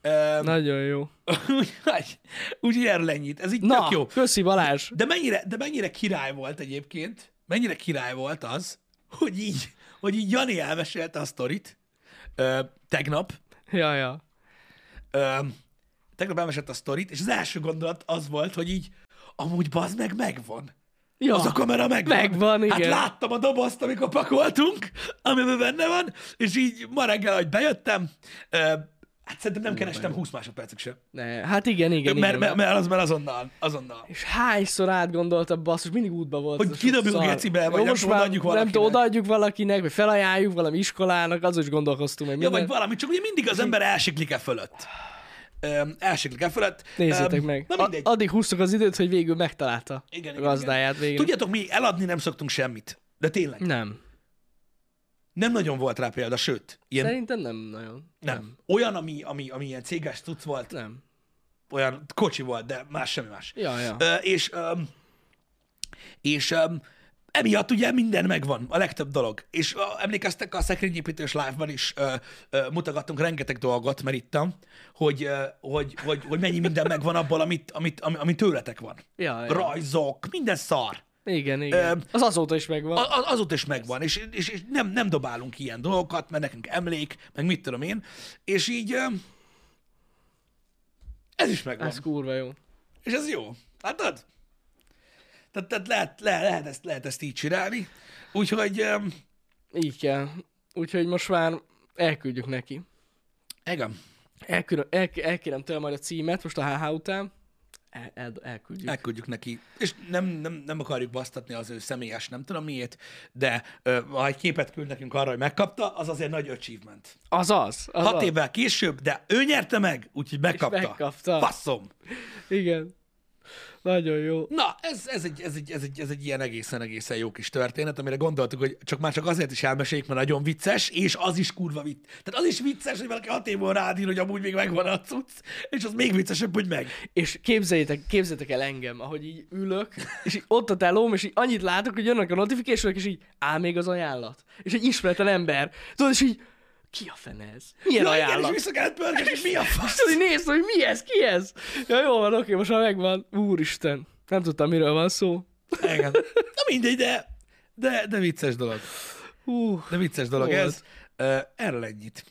S1: Öm,
S2: Nagyon jó.
S1: Úgyhogy úgy erről ennyit. Ez így
S2: Na,
S1: tök jó.
S2: köszi Balázs.
S1: De mennyire, de mennyire király volt egyébként, mennyire király volt az, hogy így, hogy így Jani elmesélte a sztorit ö, tegnap,
S2: Ja, ja.
S1: ö, tegnap elmesélte a sztorit, és az első gondolat az volt, hogy így, amúgy bazd meg megvan.
S2: ja.
S1: Az a kamera megvan.
S2: Ah, Megvan,
S1: Hát
S2: igen.
S1: láttam a dobozt, amikor pakoltunk, amiben benne van, és így ma reggel, hogy bejöttem, ö, hát szerintem nem kerestem 20 másodpercig se.
S2: Ne, hát igen, igen,
S1: Mert,
S2: igen.
S1: mert, mert az már azonnal, azonnal.
S2: És hányszor átgondolta, basszus, mindig útba volt.
S1: Hogy
S2: az a
S1: kidobjuk
S2: sok szar.
S1: gecibe, vagy
S2: Jó,
S1: akkor
S2: most már
S1: odaadjuk
S2: Nem tudom,
S1: valakinek.
S2: odaadjuk valakinek, vagy felajánljuk valami iskolának, azon is gondolkoztunk, hogy
S1: Ja,
S2: minden...
S1: vagy valami, csak ugye mindig az ember elsiklik e fölött. Öm, elsiklik e fölött.
S2: Nézzétek
S1: Öm,
S2: meg.
S1: Na mindegy.
S2: A- addig húztuk az időt, hogy végül megtalálta
S1: Igen,
S2: a
S1: igen,
S2: gazdáját végül.
S1: Tudjátok, mi eladni nem szoktunk semmit. De tényleg.
S2: Nem.
S1: Nem nagyon volt rá példa, sőt. Ilyen,
S2: Szerintem nem nagyon.
S1: nem. Olyan, ami, ami, ami ilyen céges cucc volt,
S2: Nem.
S1: olyan kocsi volt, de más semmi más.
S2: Ja, ja.
S1: Ö, és öm, és öm, emiatt ugye minden megvan, a legtöbb dolog. És ö, emlékeztek, a szekrényépítős live-ban is ö, ö, mutogattunk rengeteg dolgot, mert ittam, hogy, ö, hogy, hogy, hogy mennyi minden megvan abból, amit, amit, ami, ami tőletek van.
S2: Ja, ja.
S1: Rajzok, minden szar.
S2: Igen, igen. Az azóta is megvan.
S1: A- az, azóta is megvan, és, és, és nem, nem dobálunk ilyen dolgokat, mert nekünk emlék, meg mit tudom én, és így ö, ez is megvan,
S2: Ez kurva jó.
S1: és ez jó. Látod? Tehát, tehát lehet, lehet, lehet, ezt, lehet ezt így csinálni, úgyhogy ö,
S2: Így kell. Úgyhogy most már elküldjük neki.
S1: igen,
S2: Elkülön, el, elkérem tőle majd a címet, most a HH után. El, el, elküldjük.
S1: elküldjük neki, és nem, nem, nem akarjuk basztatni az ő személyes, nem tudom miért, de ö, ha egy képet küld nekünk arra, hogy megkapta, az azért nagy achievement.
S2: Azaz, azaz.
S1: Hat évvel később, de ő nyerte meg, úgyhogy megkapta.
S2: megkapta.
S1: Faszom.
S2: Igen. Nagyon jó.
S1: Na, ez, ez, egy, ez, egy, ez, egy, ez egy ilyen egészen-egészen jó kis történet, amire gondoltuk, hogy csak már csak azért is elmeséljük, mert nagyon vicces, és az is kurva vicc. Tehát az is vicces, hogy valaki hat év múlva rád ír, hogy amúgy még megvan a cucc, és az még viccesebb, hogy meg.
S2: És képzeljétek, képzeljétek el engem, ahogy így ülök, és így ott a telóm, és így annyit látok, hogy jönnek a notification és így áll még az ajánlat. És egy ismeretlen ember. Tudod, és így ki a fene ez? Milyen
S1: Ja, igen, és
S2: ajánlat?
S1: vissza kellett pörgetni, hogy mi a fasz.
S2: És tudod, így nézd, hogy mi ez, ki ez? Ja, jó van, oké, most már megvan. Úristen, nem tudtam, miről van szó.
S1: Igen. Na mindegy, de, de, de vicces dolog.
S2: Hú,
S1: De vicces dolog
S2: Volt.
S1: ez. Ö, Erről ennyit.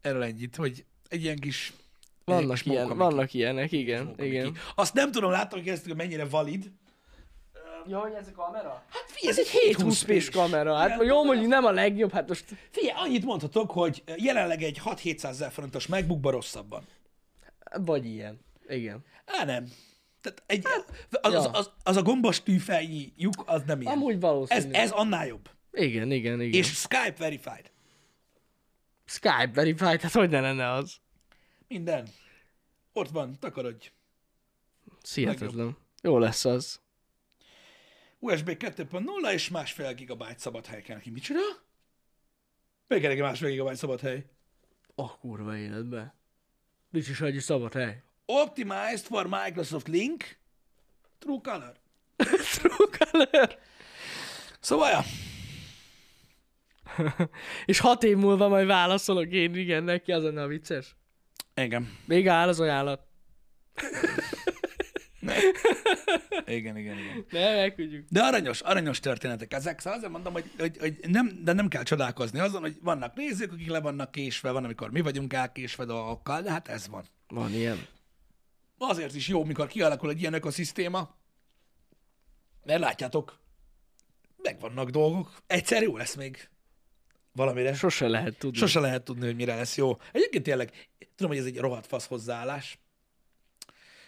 S1: Erről ennyit, hogy egy ilyen kis egy kis
S2: vannak, ilyen,
S1: móka-
S2: vannak ilyenek, igen,
S1: móka-
S2: igen.
S1: Azt nem tudom, láttam keresztül, hogy mennyire valid.
S2: Ja, hogy ez a kamera?
S1: Hát figyelj,
S2: Ez egy 720 p kamera, hát jó, mondjuk nem a legjobb, hát most
S1: Figyelj, annyit mondhatok, hogy jelenleg egy 6-700 ezer forintos megbukba rosszabban.
S2: vagy ilyen. Igen.
S1: Á, nem. Tehát egy, az, az,
S2: Hát, ja.
S1: az, az, a gombos tűfelnyi lyuk, az nem ilyen.
S2: Amúgy
S1: ez,
S2: valószínű.
S1: ez annál jobb.
S2: Igen, igen, igen.
S1: És Skype verified.
S2: Skype verified, hát hogy ne lenne az?
S1: Minden. Ott van, takarodj.
S2: Szihetetlen. Jó lesz az.
S1: USB 2.0 és másfél gigabyte szabad hely kell neki. Micsoda? Még elég másfél gigabyte szabad hely.
S2: A kurva életbe. Nincs is egy szabad hely.
S1: Optimized for Microsoft Link. True Color.
S2: Truecaller.
S1: Szóval, ja.
S2: És hat év múlva majd válaszolok én igen neki, az lenne a vicces.
S1: Igen.
S2: Még áll az ajánlat.
S1: Igen, igen, igen.
S2: Nem, elküldjük.
S1: De aranyos, aranyos történetek ezek. Szóval azért mondom, hogy, hogy, hogy nem, de nem kell csodálkozni azon, hogy vannak nézők, akik le vannak késve, van, amikor mi vagyunk elkésve dolgokkal, de hát ez van.
S2: Van ilyen.
S1: Azért is jó, mikor kialakul egy ilyen ökoszisztéma, mert látjátok, megvannak dolgok. Egyszer jó lesz még valamire.
S2: Sose lehet tudni.
S1: Sose lehet tudni, hogy mire lesz jó. Egyébként tényleg, tudom, hogy ez egy rohadt fasz hozzáállás,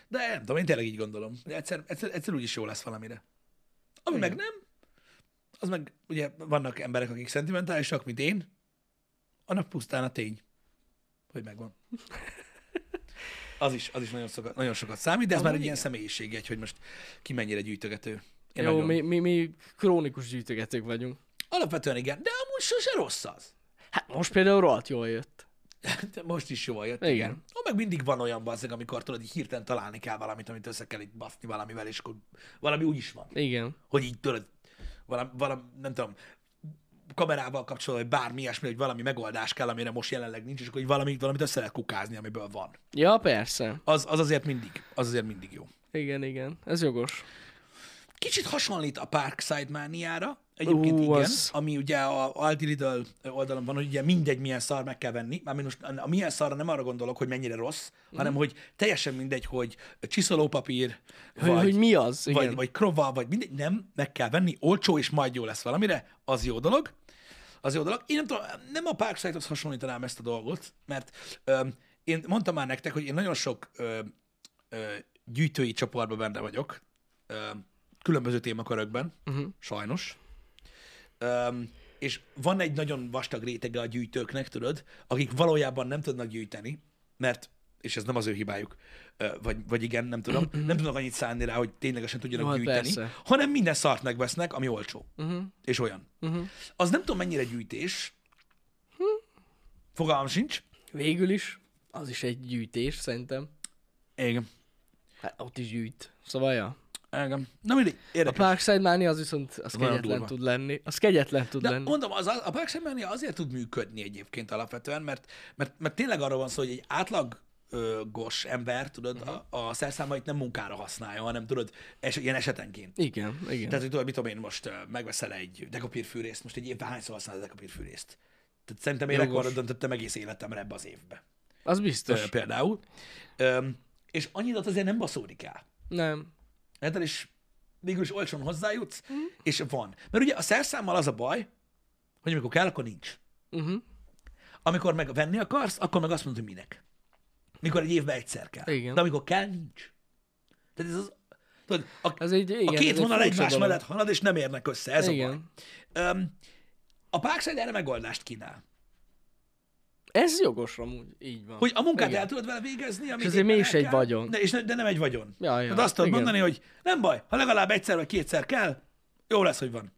S1: de nem tudom, én tényleg így gondolom. hogy Egyszer, egyszer, egyszer úgy is jó lesz valamire. Ami meg nem, az meg, ugye vannak emberek, akik szentimentálisak, mint én, annak pusztán a tény, hogy megvan. Az is, az is nagyon, sokat, nagyon sokat számít, de ez már egy ilyen személyiségjegy, hogy most ki mennyire gyűjtögető. Én
S2: Jó,
S1: nagyon-
S2: mi, mi, mi krónikus gyűjtögetők vagyunk.
S1: Alapvetően igen, de amúgy sose rossz az.
S2: Hát most például rohadt jól jött.
S1: De most is jól jött, igen.
S2: Igen.
S1: igen. Ó, meg mindig van olyan bazzeg, amikor tudod, így hirtelen találni kell valamit, amit össze kell itt baszni valamivel, és akkor valami úgy is van.
S2: Igen.
S1: Hogy így tudod, valami, valami nem tudom, kamerával kapcsolatban, vagy bármi ilyesmi, hogy valami megoldás kell, amire most jelenleg nincs, és akkor így valamit, valamit össze lehet kukázni, amiből van.
S2: Ja, persze.
S1: Az, az azért mindig, az azért mindig jó.
S2: Igen, igen. Ez jogos.
S1: Kicsit hasonlít a Parkside mániára, egyébként
S2: Ú,
S1: igen,
S2: az.
S1: ami ugye a Aldi Lidl oldalon van, hogy ugye mindegy milyen szar meg kell venni, mármint most a a milyen szarra nem arra gondolok, hogy mennyire rossz,
S2: Mhm.
S1: hanem hogy teljesen mindegy, hogy csiszolópapír,
S2: Hogy,
S1: vagy,
S2: hogy mi az? Igen.
S1: vagy, vagy krova, vagy mindegy, nem, meg kell venni, olcsó, és majd jó lesz valamire, az jó dolog. Az jó dolog. Én nem tudom, nem a Parkside-hoz hasonlítanám ezt a dolgot, mert öm, én mondtam már nektek, hogy én nagyon sok öm, ö, gyűjtői csoportban benne vagyok, ö, különböző témakörökben,
S2: Mhm.
S1: uh-huh. sajnos. Öm, és van egy nagyon vastag rétege a gyűjtőknek, tudod, akik valójában nem tudnak gyűjteni, mert, és ez nem az ő hibájuk, ö, vagy, vagy igen, nem tudom, nem tudnak annyit szállni rá, hogy ténylegesen tudjanak
S2: Jó, hát
S1: gyűjteni,
S2: persze. Mhm.
S1: hanem minden szart megvesznek, ami olcsó. Uh-huh. És olyan. Uh-huh. Az nem tudom, mennyire gyűjtés.
S2: Hm.
S1: Fogalmam sincs.
S2: Végül is, az is egy gyűjtés, szerintem.
S1: Igen.
S2: Hát ott is gyűjt. Szóval ja.
S1: Igen. Na mindegy,
S2: A
S1: érdekes.
S2: Parkside Mania az viszont az
S1: Nagyon
S2: kegyetlen
S1: durva.
S2: tud lenni. Az kegyetlen tud
S1: De
S2: lenni.
S1: mondom, az, a Parks and Mania azért tud működni egyébként alapvetően, mert, mert, mert tényleg arról van szó, hogy egy átlag ö, ö, gos ember, tudod, a, a szerszámait nem munkára használja, hanem tudod, es, ilyen esetenként.
S2: Igen, igen.
S1: Tehát, hogy tudod, mit tudom én, most ö, megveszel egy dekapírfűrészt, most egy évben hányszor használod a dekapírfűrészt? Tehát szerintem én
S2: Jogos.
S1: rekordot döntöttem egész életemre ebbe az évbe.
S2: az
S1: Ö,
S2: biztos.
S1: például. Ö, és annyidat azért nem baszódik el.
S2: nem.
S1: Érted? És végül is olcsón hozzájutsz, és van. Mert ugye a szerszámmal az a baj, hogy amikor kell, akkor nincs.
S2: Uh-huh.
S1: Amikor meg venni akarsz, akkor meg azt mondod, hogy minek. Mikor egy évben egyszer kell.
S2: Igen.
S1: De amikor kell, nincs. Tehát ez az... Tudod, a,
S2: Ez egy, igen,
S1: a
S2: ez
S1: két
S2: egy
S1: vonal
S2: furcsa
S1: egymás
S2: dolog.
S1: mellett halad, és nem érnek össze. Ez a
S2: Igen.
S1: baj. Öm, a Parkside erre megoldást kínál.
S2: Ez jogos amúgy, így van.
S1: Hogy a munkát
S2: Igen.
S1: el tudod vele végezni, amit
S2: azért
S1: éppen
S2: mégis
S1: el
S2: egy
S1: kell,
S2: vagyon.
S1: De, és ne, de nem egy vagyon.
S2: Ja, ja,
S1: Tehát azt tudod
S2: igen.
S1: mondani, hogy nem baj, ha legalább egyszer vagy kétszer kell, jó lesz, hogy van.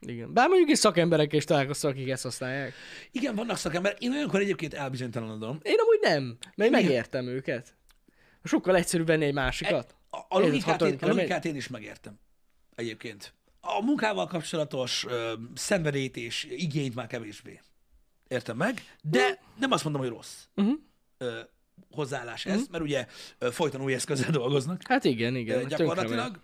S2: Igen. Bár mondjuk is szakemberek is találkoztak, akik ezt használják.
S1: Igen, vannak szakemberek. Én olyankor egyébként elbizonytalanodom.
S2: Én amúgy nem, mert megértem őket. Sokkal egyszerűbb venni egy másikat.
S1: E- A, a, logikát,
S2: hatvan
S1: én, a
S2: kilométer?
S1: logikát én is megértem. Egyébként. A munkával kapcsolatos ö, szenvedélyt és igényt már kevésbé. Értem meg? De nem azt mondom, hogy rossz
S2: Mm. Mhm.
S1: ö, hozzáállás ez, mert ugye ö, folyton új eszközzel dolgoznak.
S2: Hát igen, igen.
S1: Igen, gyakorlatilag.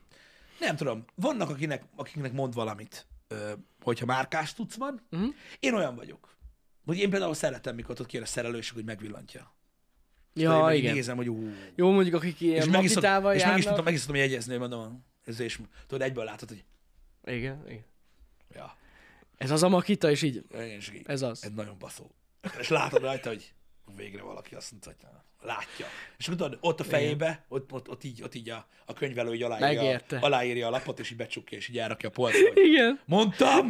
S1: Nem tudom, vannak akinek, akiknek mond valamit, ö, hogyha márkás tudsz van.
S2: Mhm.
S1: Én olyan vagyok, hogy én például szeretem, mikor ott kér a szerelő, és hogy megvillantja. Tudod, Szóval én
S2: Ja,
S1: meg így
S2: igen.
S1: nézem, hogy ú,
S2: Jó, mondjuk akik ilyen
S1: és
S2: és
S1: meg is,
S2: magitával
S1: tud- és meg is tudtam,
S2: járnak.
S1: meg is tudtam jegyezni, hogy mondom, ez és tudod, egyből látod, hogy
S2: Igen, igen.
S1: ja,
S2: Ez az a makita, és így,
S1: én is így,
S2: ez az.
S1: ez nagyon baszó. És látod rajta, hogy végre valaki azt mondta, hogy látja. És akkor tudod, ott a fejébe, ott, ott, ott, így, ott így a, a könyvelő így aláírja,
S2: Megérte.
S1: aláírja a lapot, és így becsukja, és így elrakja a polcra, hogy
S2: Igen.
S1: Mondtam,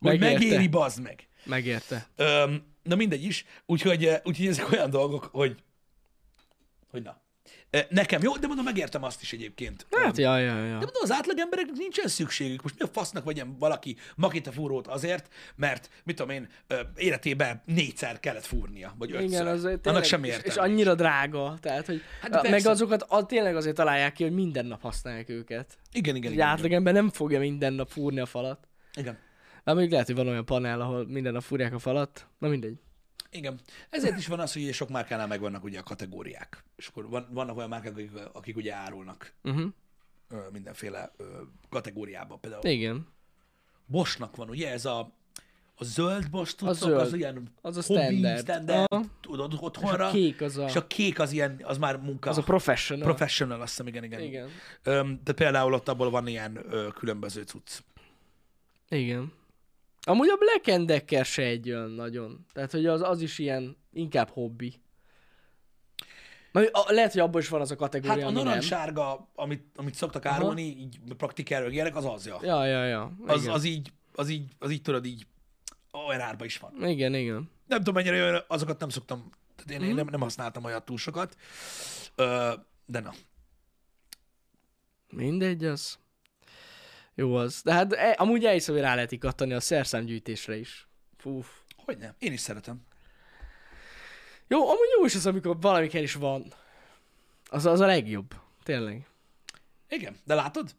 S1: hogy
S2: Megérte.
S1: megéri, bazd meg.
S2: Megérte.
S1: Öm, na mindegy is, úgyhogy, eh, úgyhogy ezek olyan dolgok, hogy, hogy na. Eh, Nekem jó, de mondom, megértem azt is egyébként.
S2: Hát, ja, ja, ja.
S1: De mondom, az átlagembereknek nincsen szükségük. Most mi a fasznak vegyen valaki makita fúrót azért, mert, mit tudom én, ö, életében négyszer kellett fúrnia, vagy ötször.
S2: Igen, az
S1: Annak
S2: tényleg-
S1: semmi
S2: és,
S1: értelme.
S2: és annyira drága, tehát, hogy
S1: Hát
S2: hát
S1: de
S2: meg
S1: persze.
S2: azokat a, tényleg azért találják ki, hogy minden nap használják őket.
S1: Igen, igen,
S2: Egy
S1: igen.
S2: átlagember nem fogja minden nap fúrni a falat.
S1: igen.
S2: Már mondjuk lehet, hogy van olyan panel, ahol minden nap fúrják a falat. Na mindegy.
S1: Igen. Ezért is van az, hogy ugye sok márkánál megvannak ugye a kategóriák. És akkor van, vannak olyan márkák, akik, akik ugye árulnak
S2: Uh-huh.
S1: ö, mindenféle ö, kategóriába. Például
S2: Igen.
S1: Bosnak van, ugye ez a, a zöld Bosch, tudtok,
S2: zöld.
S1: az ilyen
S2: Az a
S1: hobbi,
S2: standard.
S1: standard
S2: Aha.
S1: tudod,
S2: És
S1: otthonra.
S2: a kék az a,
S1: és a kék az ilyen, az már munka.
S2: az a professional.
S1: Ah, Professional, azt hiszem, igen, igen.
S2: igen.
S1: Öm, de például ott abból van ilyen ö, különböző cucc.
S2: Igen. Amúgy a Black and Decker se egy olyan nagyon. Tehát, hogy az, az is ilyen inkább hobbi. Na, a, lehet, hogy abban is van az a kategória,
S1: Hát a
S2: ami nem.
S1: narancssárga, amit, amit szoktak árulni, így praktikáról ilyenek, az az, ja.
S2: Ja, ja, ja.
S1: az,
S2: igen.
S1: az, így, az így, az így tudod, így olyan árba is van.
S2: Igen, igen.
S1: Nem tudom, mennyire jön, azokat nem szoktam, tehát én,
S2: Mhm.
S1: én nem, nem használtam olyat túl sokat, ö, de na.
S2: Mindegy, az. Jó az. De hát e, amúgy elhiszem, hogy rá lehet ikattani a szerszámgyűjtésre is. Fú.
S1: Hogy nem? Én is szeretem.
S2: Jó, amúgy jó is az, amikor valami kell is van. Az, az a legjobb. Tényleg.
S1: Igen, de látod?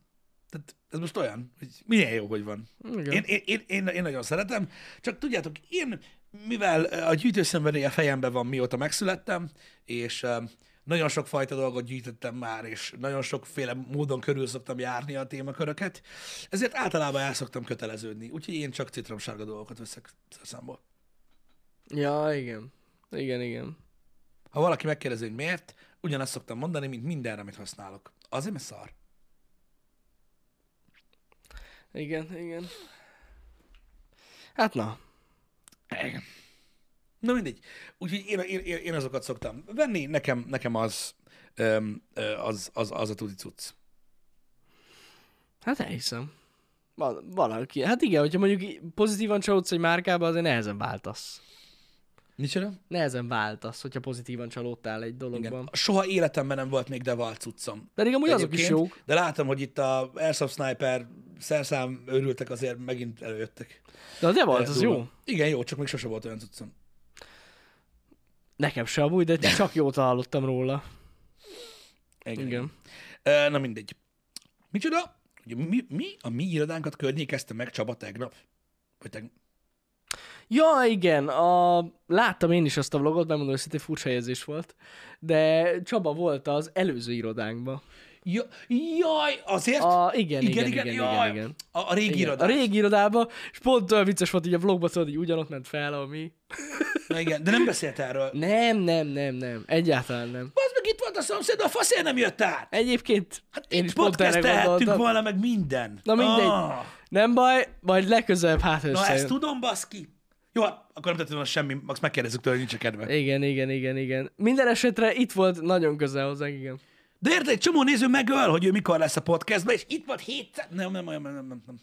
S1: Tehát ez most olyan, hogy milyen jó, hogy van.
S2: Igen.
S1: Én, én, én, én, én nagyon szeretem, csak tudjátok, én, mivel eh, a gyűjtőszenvedély a fejemben van, mióta megszülettem, és eh, nagyon sok fajta dolgot gyűjtöttem már, és nagyon sokféle módon körül szoktam járni a témaköröket, ezért általában el szoktam köteleződni. Úgyhogy én csak citromsárga dolgokat veszek számból.
S2: Ja, igen. Igen, igen.
S1: Ha valaki megkérdezi, hogy miért, ugyanazt szoktam mondani, mint mindenre, amit használok. Azért, mert szar.
S2: Igen, igen. Hát na.
S1: Igen. Na mindegy. Úgyhogy én, én, én, én azokat szoktam venni, nekem, nekem az, öm, ö, az, az, az a tuti cucc.
S2: Hát elhiszem. Val- valaki. Hát igen, hogyha mondjuk í- pozitívan csalódsz egy márkába, azért nehezen váltasz.
S1: Micsoda?
S2: Nehezen váltasz, hogyha pozitívan csalódtál egy dologban.
S1: Igen.
S2: Igen.
S1: Soha életemben nem volt még deval cuccom.
S2: Pedig amúgy azok is
S1: Egyébként,
S2: jók.
S1: De látom, hogy itt a Airsoft Sniper szerszám őrültek azért megint előjöttek.
S2: De a Devalt az
S1: Durva.
S2: jó.
S1: Igen, jó, csak még sose volt olyan cuccom.
S2: Nekem se amúgy, de csak jót hallottam róla.
S1: Igen.
S2: Igen.
S1: Ö, Na mindegy. Micsoda? Ugye mi, mi a mi irodánkat környékezte meg Csaba tegnap? Vagy tegnap?
S2: Ja, igen, a... láttam én is azt a vlogot, megmondom őszintén furcsa érzés volt, de Csaba volt az előző irodánkban.
S1: Ja, jaj, azért?
S2: A, igen, igen, igen, igen,
S1: jaj,
S2: igen, igen.
S1: A, a régi
S2: igen.
S1: irodás.
S2: A régi irodába, és pont olyan vicces volt, így a vlogban tudod, így ugyanott ment fel, ami...
S1: Na igen, de nem beszélt erről.
S2: Nem, nem, nem, nem, egyáltalán nem.
S1: Az meg itt volt a szomszéd, a faszért nem jött át.
S2: Egyébként hát én is pont erre
S1: Podcastelhettünk
S2: gondoltam.
S1: volna meg minden.
S2: Na mindegy.
S1: Ah,
S2: Nem baj, majd legközelebb hát
S1: na ezt
S2: összejön.
S1: tudom, baszki. Jó, hát akkor nem tettem volna semmi, max megkérdezzük tőle, nincs a kedve.
S2: Igen, igen, igen, igen. Minden esetre itt volt nagyon közel hozzánk, igen.
S1: De érted, egy csomó néző megöl, hogy ő mikor lesz a podcastban, és itt volt 700... Nem, nem, nem, nem, nem, nem.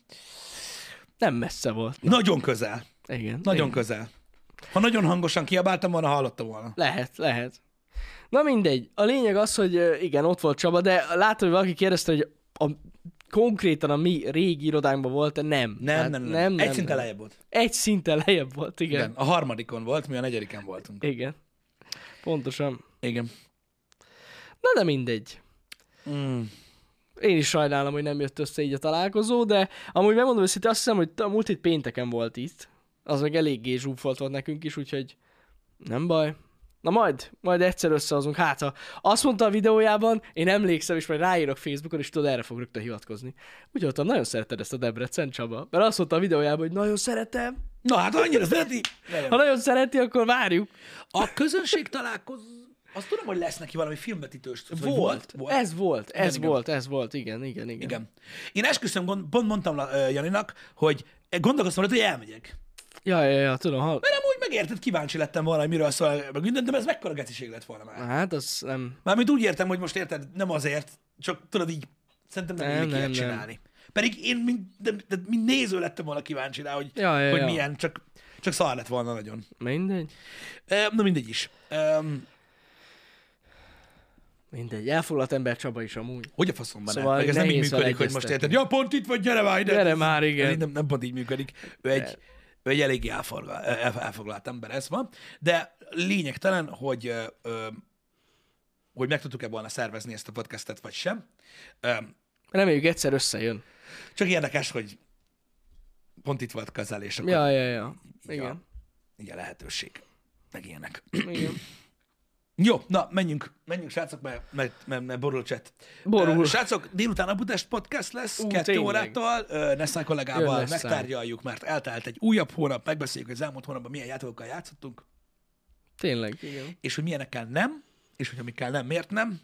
S2: Nem messze volt.
S1: Nagyon közel.
S2: Igen.
S1: Nagyon
S2: igen.
S1: közel. Ha nagyon hangosan kiabáltam volna, hallottam volna.
S2: Lehet, lehet. Na mindegy. A lényeg az, hogy ö, igen, ott volt Csaba, de látod, hogy valaki kérdezte, hogy a, konkrétan a mi régi irodánkban volt -e? Nem.
S1: Nem,
S2: Tehát
S1: nem, nem, nem. Egy szinten
S2: nem.
S1: lejjebb volt.
S2: Egy szinten lejjebb volt, igen.
S1: Igen. A harmadikon volt, mi a negyedikén voltunk.
S2: Igen. Pontosan.
S1: Igen.
S2: Na de mindegy.
S1: Mm.
S2: Én is sajnálom, hogy nem jött össze így a találkozó, de amúgy megmondom őszintén, azt hiszem, hogy a múlt hét pénteken volt itt. Az meg eléggé zsúfolt volt nekünk is, úgyhogy nem baj. Na majd, majd egyszer összehozunk. Hát, ha azt mondta a videójában, én emlékszem, és majd ráírok Facebookon, és tudod, erre fog rögtön hivatkozni. Úgy voltam, nagyon szereted ezt a Debrecen Csaba. Mert azt mondta a videójában, hogy nagyon szeretem.
S1: Na hát annyira szereti.
S2: Ha nagyon szereti, akkor várjuk.
S1: A közönség találkoz... Azt tudom, hogy lesz neki valami filmvetítős. cucc, vagy Szóval, volt.
S2: Ez volt, ez
S1: igen.
S2: volt, ez volt. Igen, igen, igen.
S1: Igen. Én esküszöm, gond, pont mondtam ö, Janinak, hogy gondolkoztam rajta, hogy elmegyek.
S2: Ja, ja, ja, tudom, hall...
S1: Mert amúgy megérted, kíváncsi lettem volna, hogy miről szól, meg minden, de ez mekkora geciség lett volna már.
S2: Hát, az nem...
S1: Mármint úgy értem, hogy most érted, nem azért, csak tudod így, szerintem nem, nem
S2: Nem,
S1: illik ilyet
S2: nem, nem.
S1: csinálni. Pedig én mind, de, de, mind néző lettem volna kíváncsi rá, hogy,
S2: Ja, ja,
S1: hogy
S2: ja.
S1: milyen, csak, csak szar lett volna nagyon.
S2: Mindegy.
S1: Ö, Na mindegy is. Ö,
S2: Mindegy, elfoglalt ember Csaba is amúgy.
S1: Hogy a faszomban
S2: Szóval
S1: szóval Meg ez nem így
S2: nehéz vele
S1: működik, hogy most
S2: egyeztetni.
S1: érted. Ja, pont itt vagy, gyere már ide.
S2: Gyere
S1: Ez-
S2: már, igen.
S1: ez Nem, nem pont így működik. Ő egy, ő egy eléggé elforga- el- elfoglalt ember, ez van. De lényegtelen, hogy ö, ö, hogy meg tudtuk-e volna szervezni ezt a podcastet, vagy sem. Ö,
S2: Reméljük egyszer összejön.
S1: Csak érdekes, hogy pont itt volt közel, és akkor ja.
S2: Ja, ja, ja. Igen.
S1: így a lehetőség. Meg ilyenek.
S2: Igen.
S1: Jó, na, menjünk, menjünk, srácok, mert, mert, mert, mert borul a chat.
S2: Borul.
S1: Ö, Srácok, délután a Budapest Podcast lesz,
S2: Ú,
S1: Ú, kettő
S2: tényleg.
S1: órától. Ö, Nessán
S2: Jön
S1: kollégával
S2: Nessán.
S1: megtárgyaljuk, mert eltelt egy újabb hónap, megbeszéljük, hogy az elmúlt hónapban milyen játékokkal játszottunk,
S2: Tényleg. Igen.
S1: és hogy milyenekkel nem, és hogy amikkel nem, miért nem,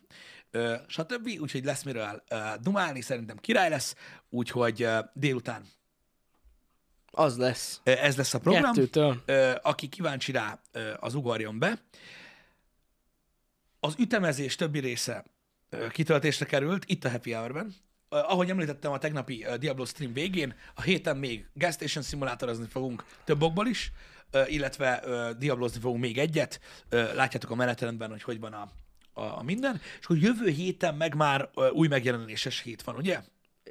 S1: ö, stb. Úgyhogy lesz miről ö, dumálni, szerintem király lesz, úgyhogy ö, délután
S2: Az lesz.
S1: ö, ez lesz a program.
S2: Kettőtől.
S1: Ö, aki kíváncsi rá, ö, az ugorjon be. Az ütemezés többi része ö, kitöltésre került, itt a Happy Hour-ben. Ö, Ahogy említettem a tegnapi ö, Diablo stream végén, a héten még Gas Station szimulátorozni fogunk több okból is, ö, illetve ö, diablozni fogunk még egyet. Ö, Látjátok a menetrendben, hogy hogy van a, a, a minden. És hogy jövő héten meg már ö, új megjelenéses hét van, ugye?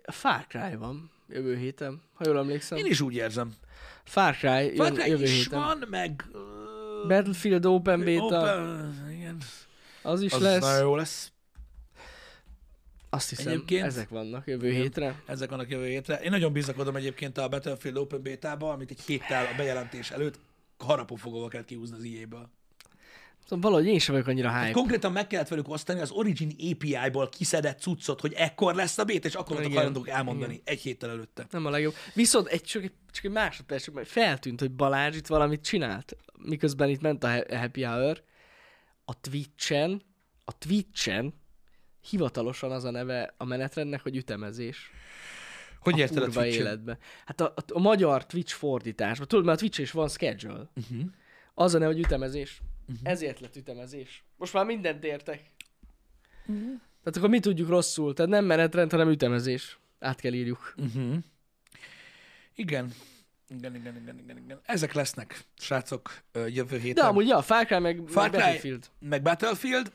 S2: A Far Cry van jövő héten, ha jól emlékszem.
S1: Én is úgy érzem.
S2: Far Cry jön
S1: Far Cry
S2: jövő
S1: is
S2: héten.
S1: van, meg... ö,
S2: Battlefield Open Beta,
S1: Open, igen.
S2: az is
S1: Az lesz. nagyon
S2: lesz.
S1: jó lesz.
S2: Azt hiszem,
S1: Egyébként-
S2: ezek vannak jövő hétre.
S1: Ezek vannak jövő hétre. Én nagyon bizakodom egyébként a Battlefield Open Beta-ba, amit egy héttel a bejelentés előtt harapófogóval kellett kihúzni az EA-ből.
S2: Szóval valahogy én sem vagyok annyira hype.
S1: Konkrétan meg kellett velük osztani az Origin API-ból kiszedett cuccot, hogy ekkor lesz a beta, és akkor voltak
S2: Igen.
S1: hajlandók elmondani egy héttel előtte.
S2: Nem a legjobb. Viszont egy, csak, egy, csak egy másodperc, csak majd feltűnt, hogy Balázs itt valamit csinált, miközben itt ment a he- happy hour. A Twitch-en, a Twitch-en hivatalosan az a neve a menetrendnek, hogy ütemezés.
S1: Hogy
S2: Érted kurva a életbe. Hát a, a, a magyar Twitch fordításban, tudod, mert a Twitch is van schedule. Uh-huh. Az a neve, hogy ütemezés. Uh-huh. Ezért lett ütemezés. Most már mindent értek. Uh-huh. Tehát akkor mi tudjuk rosszul? Tehát nem menetrend, hanem ütemezés. Át kell írjuk.
S1: Igen. Igen, igen, igen, igen, igen. Ezek lesznek, srácok, ö, jövő héten.
S2: De amúgy, ja, Far Cry meg,
S1: Far
S2: meg
S1: Cry,
S2: Battlefield.
S1: meg Battlefield,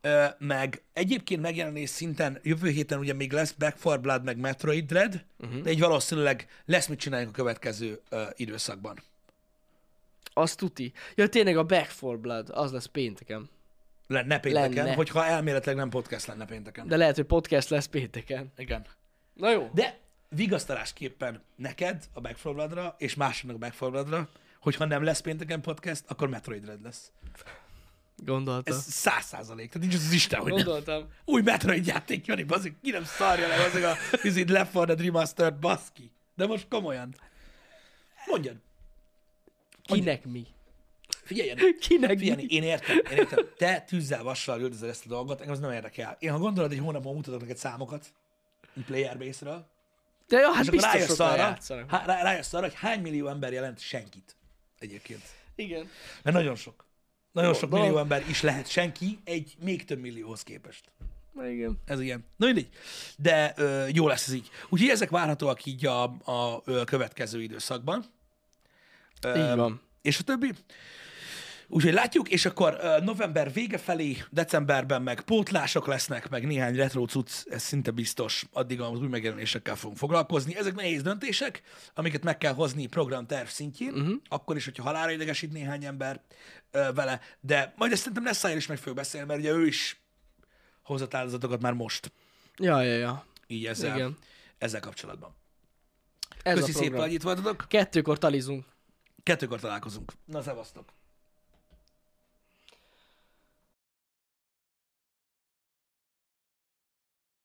S1: ö, meg egyébként megjelenés szinten jövő héten ugye még lesz Back 4 Blood, meg Metroid Dread, uh-huh. de így valószínűleg lesz mit csináljunk a következő ö, időszakban.
S2: Az tuti. Ja, tényleg a Back for Blood, az lesz pénteken.
S1: Lenne pénteken,
S2: Lenne.
S1: lenne. hogyha elméletileg nem podcast lenne pénteken. De...
S2: De lehet, hogy podcast lesz pénteken.
S1: Igen.
S2: Na jó. De...
S1: De vigasztalásképpen neked a Back 4 Bloodra, és másoknak a Back 4 Bloodra, hogy ha nem lesz pénteken podcast, akkor Metroid Red lesz.
S2: Gondoltam.
S1: Ez száz százalék. Tehát nincs az Isten, hogy nem.
S2: Gondoltam.
S1: Új Metroid játék jön, bazzik, ki nem szarja le azok a izid Left 4 Dead Remastered, baszki. De most komolyan. Mondjad.
S2: Kinek mi?
S1: Figyelj, Jani.
S2: Kinek
S1: Figyelj,
S2: mi?
S1: én értem, én értem. Te tűzzel, vassal üldözöd ezt a dolgot, engem az nem érdekel. Én ha gondolod, egy hónapban mutatok neked számokat, így player base-ről,
S2: De jó, hát
S1: és akkor
S2: biztos
S1: rájössz
S2: sokan
S1: arra, Hát-
S2: játszanak.
S1: há, rá, rájössz arra, hogy hány millió ember jelent senkit egyébként.
S2: Igen.
S1: Mert nagyon sok. Nagyon
S2: Jó,
S1: sok
S2: dolog.
S1: millió ember is lehet senki, egy még több millióhoz képest.
S2: Na, igen.
S1: Ez ilyen. Na mindegy. De ö, jó lesz ez így. Úgyhogy ezek várhatóak így a, a, ö, következő időszakban.
S2: Így van.
S1: És a többi. Úgyhogy látjuk, és akkor ö, november vége felé, decemberben meg pótlások lesznek, meg néhány retro cucc, ez szinte biztos, addig az új megjelenésekkel fogunk foglalkozni. Ezek nehéz döntések, amiket meg kell hozni programterv szintjén, uh-huh. akkor is, hogyha halára idegesít néhány ember ö, vele, de majd ezt szerintem Nessájér is meg fog beszélni, mert ugye ő is hozott áldozatokat már most,
S2: Ja, ja, ja.
S1: így ezzel,
S2: Igen.
S1: ezzel kapcsolatban.
S2: Ez
S1: Köszi
S2: a
S1: szépen,
S2: program.
S1: hogy itt voltatok,
S2: Kettőkor talizunk.
S1: kettőkor találkozunk. Na, szevasztok!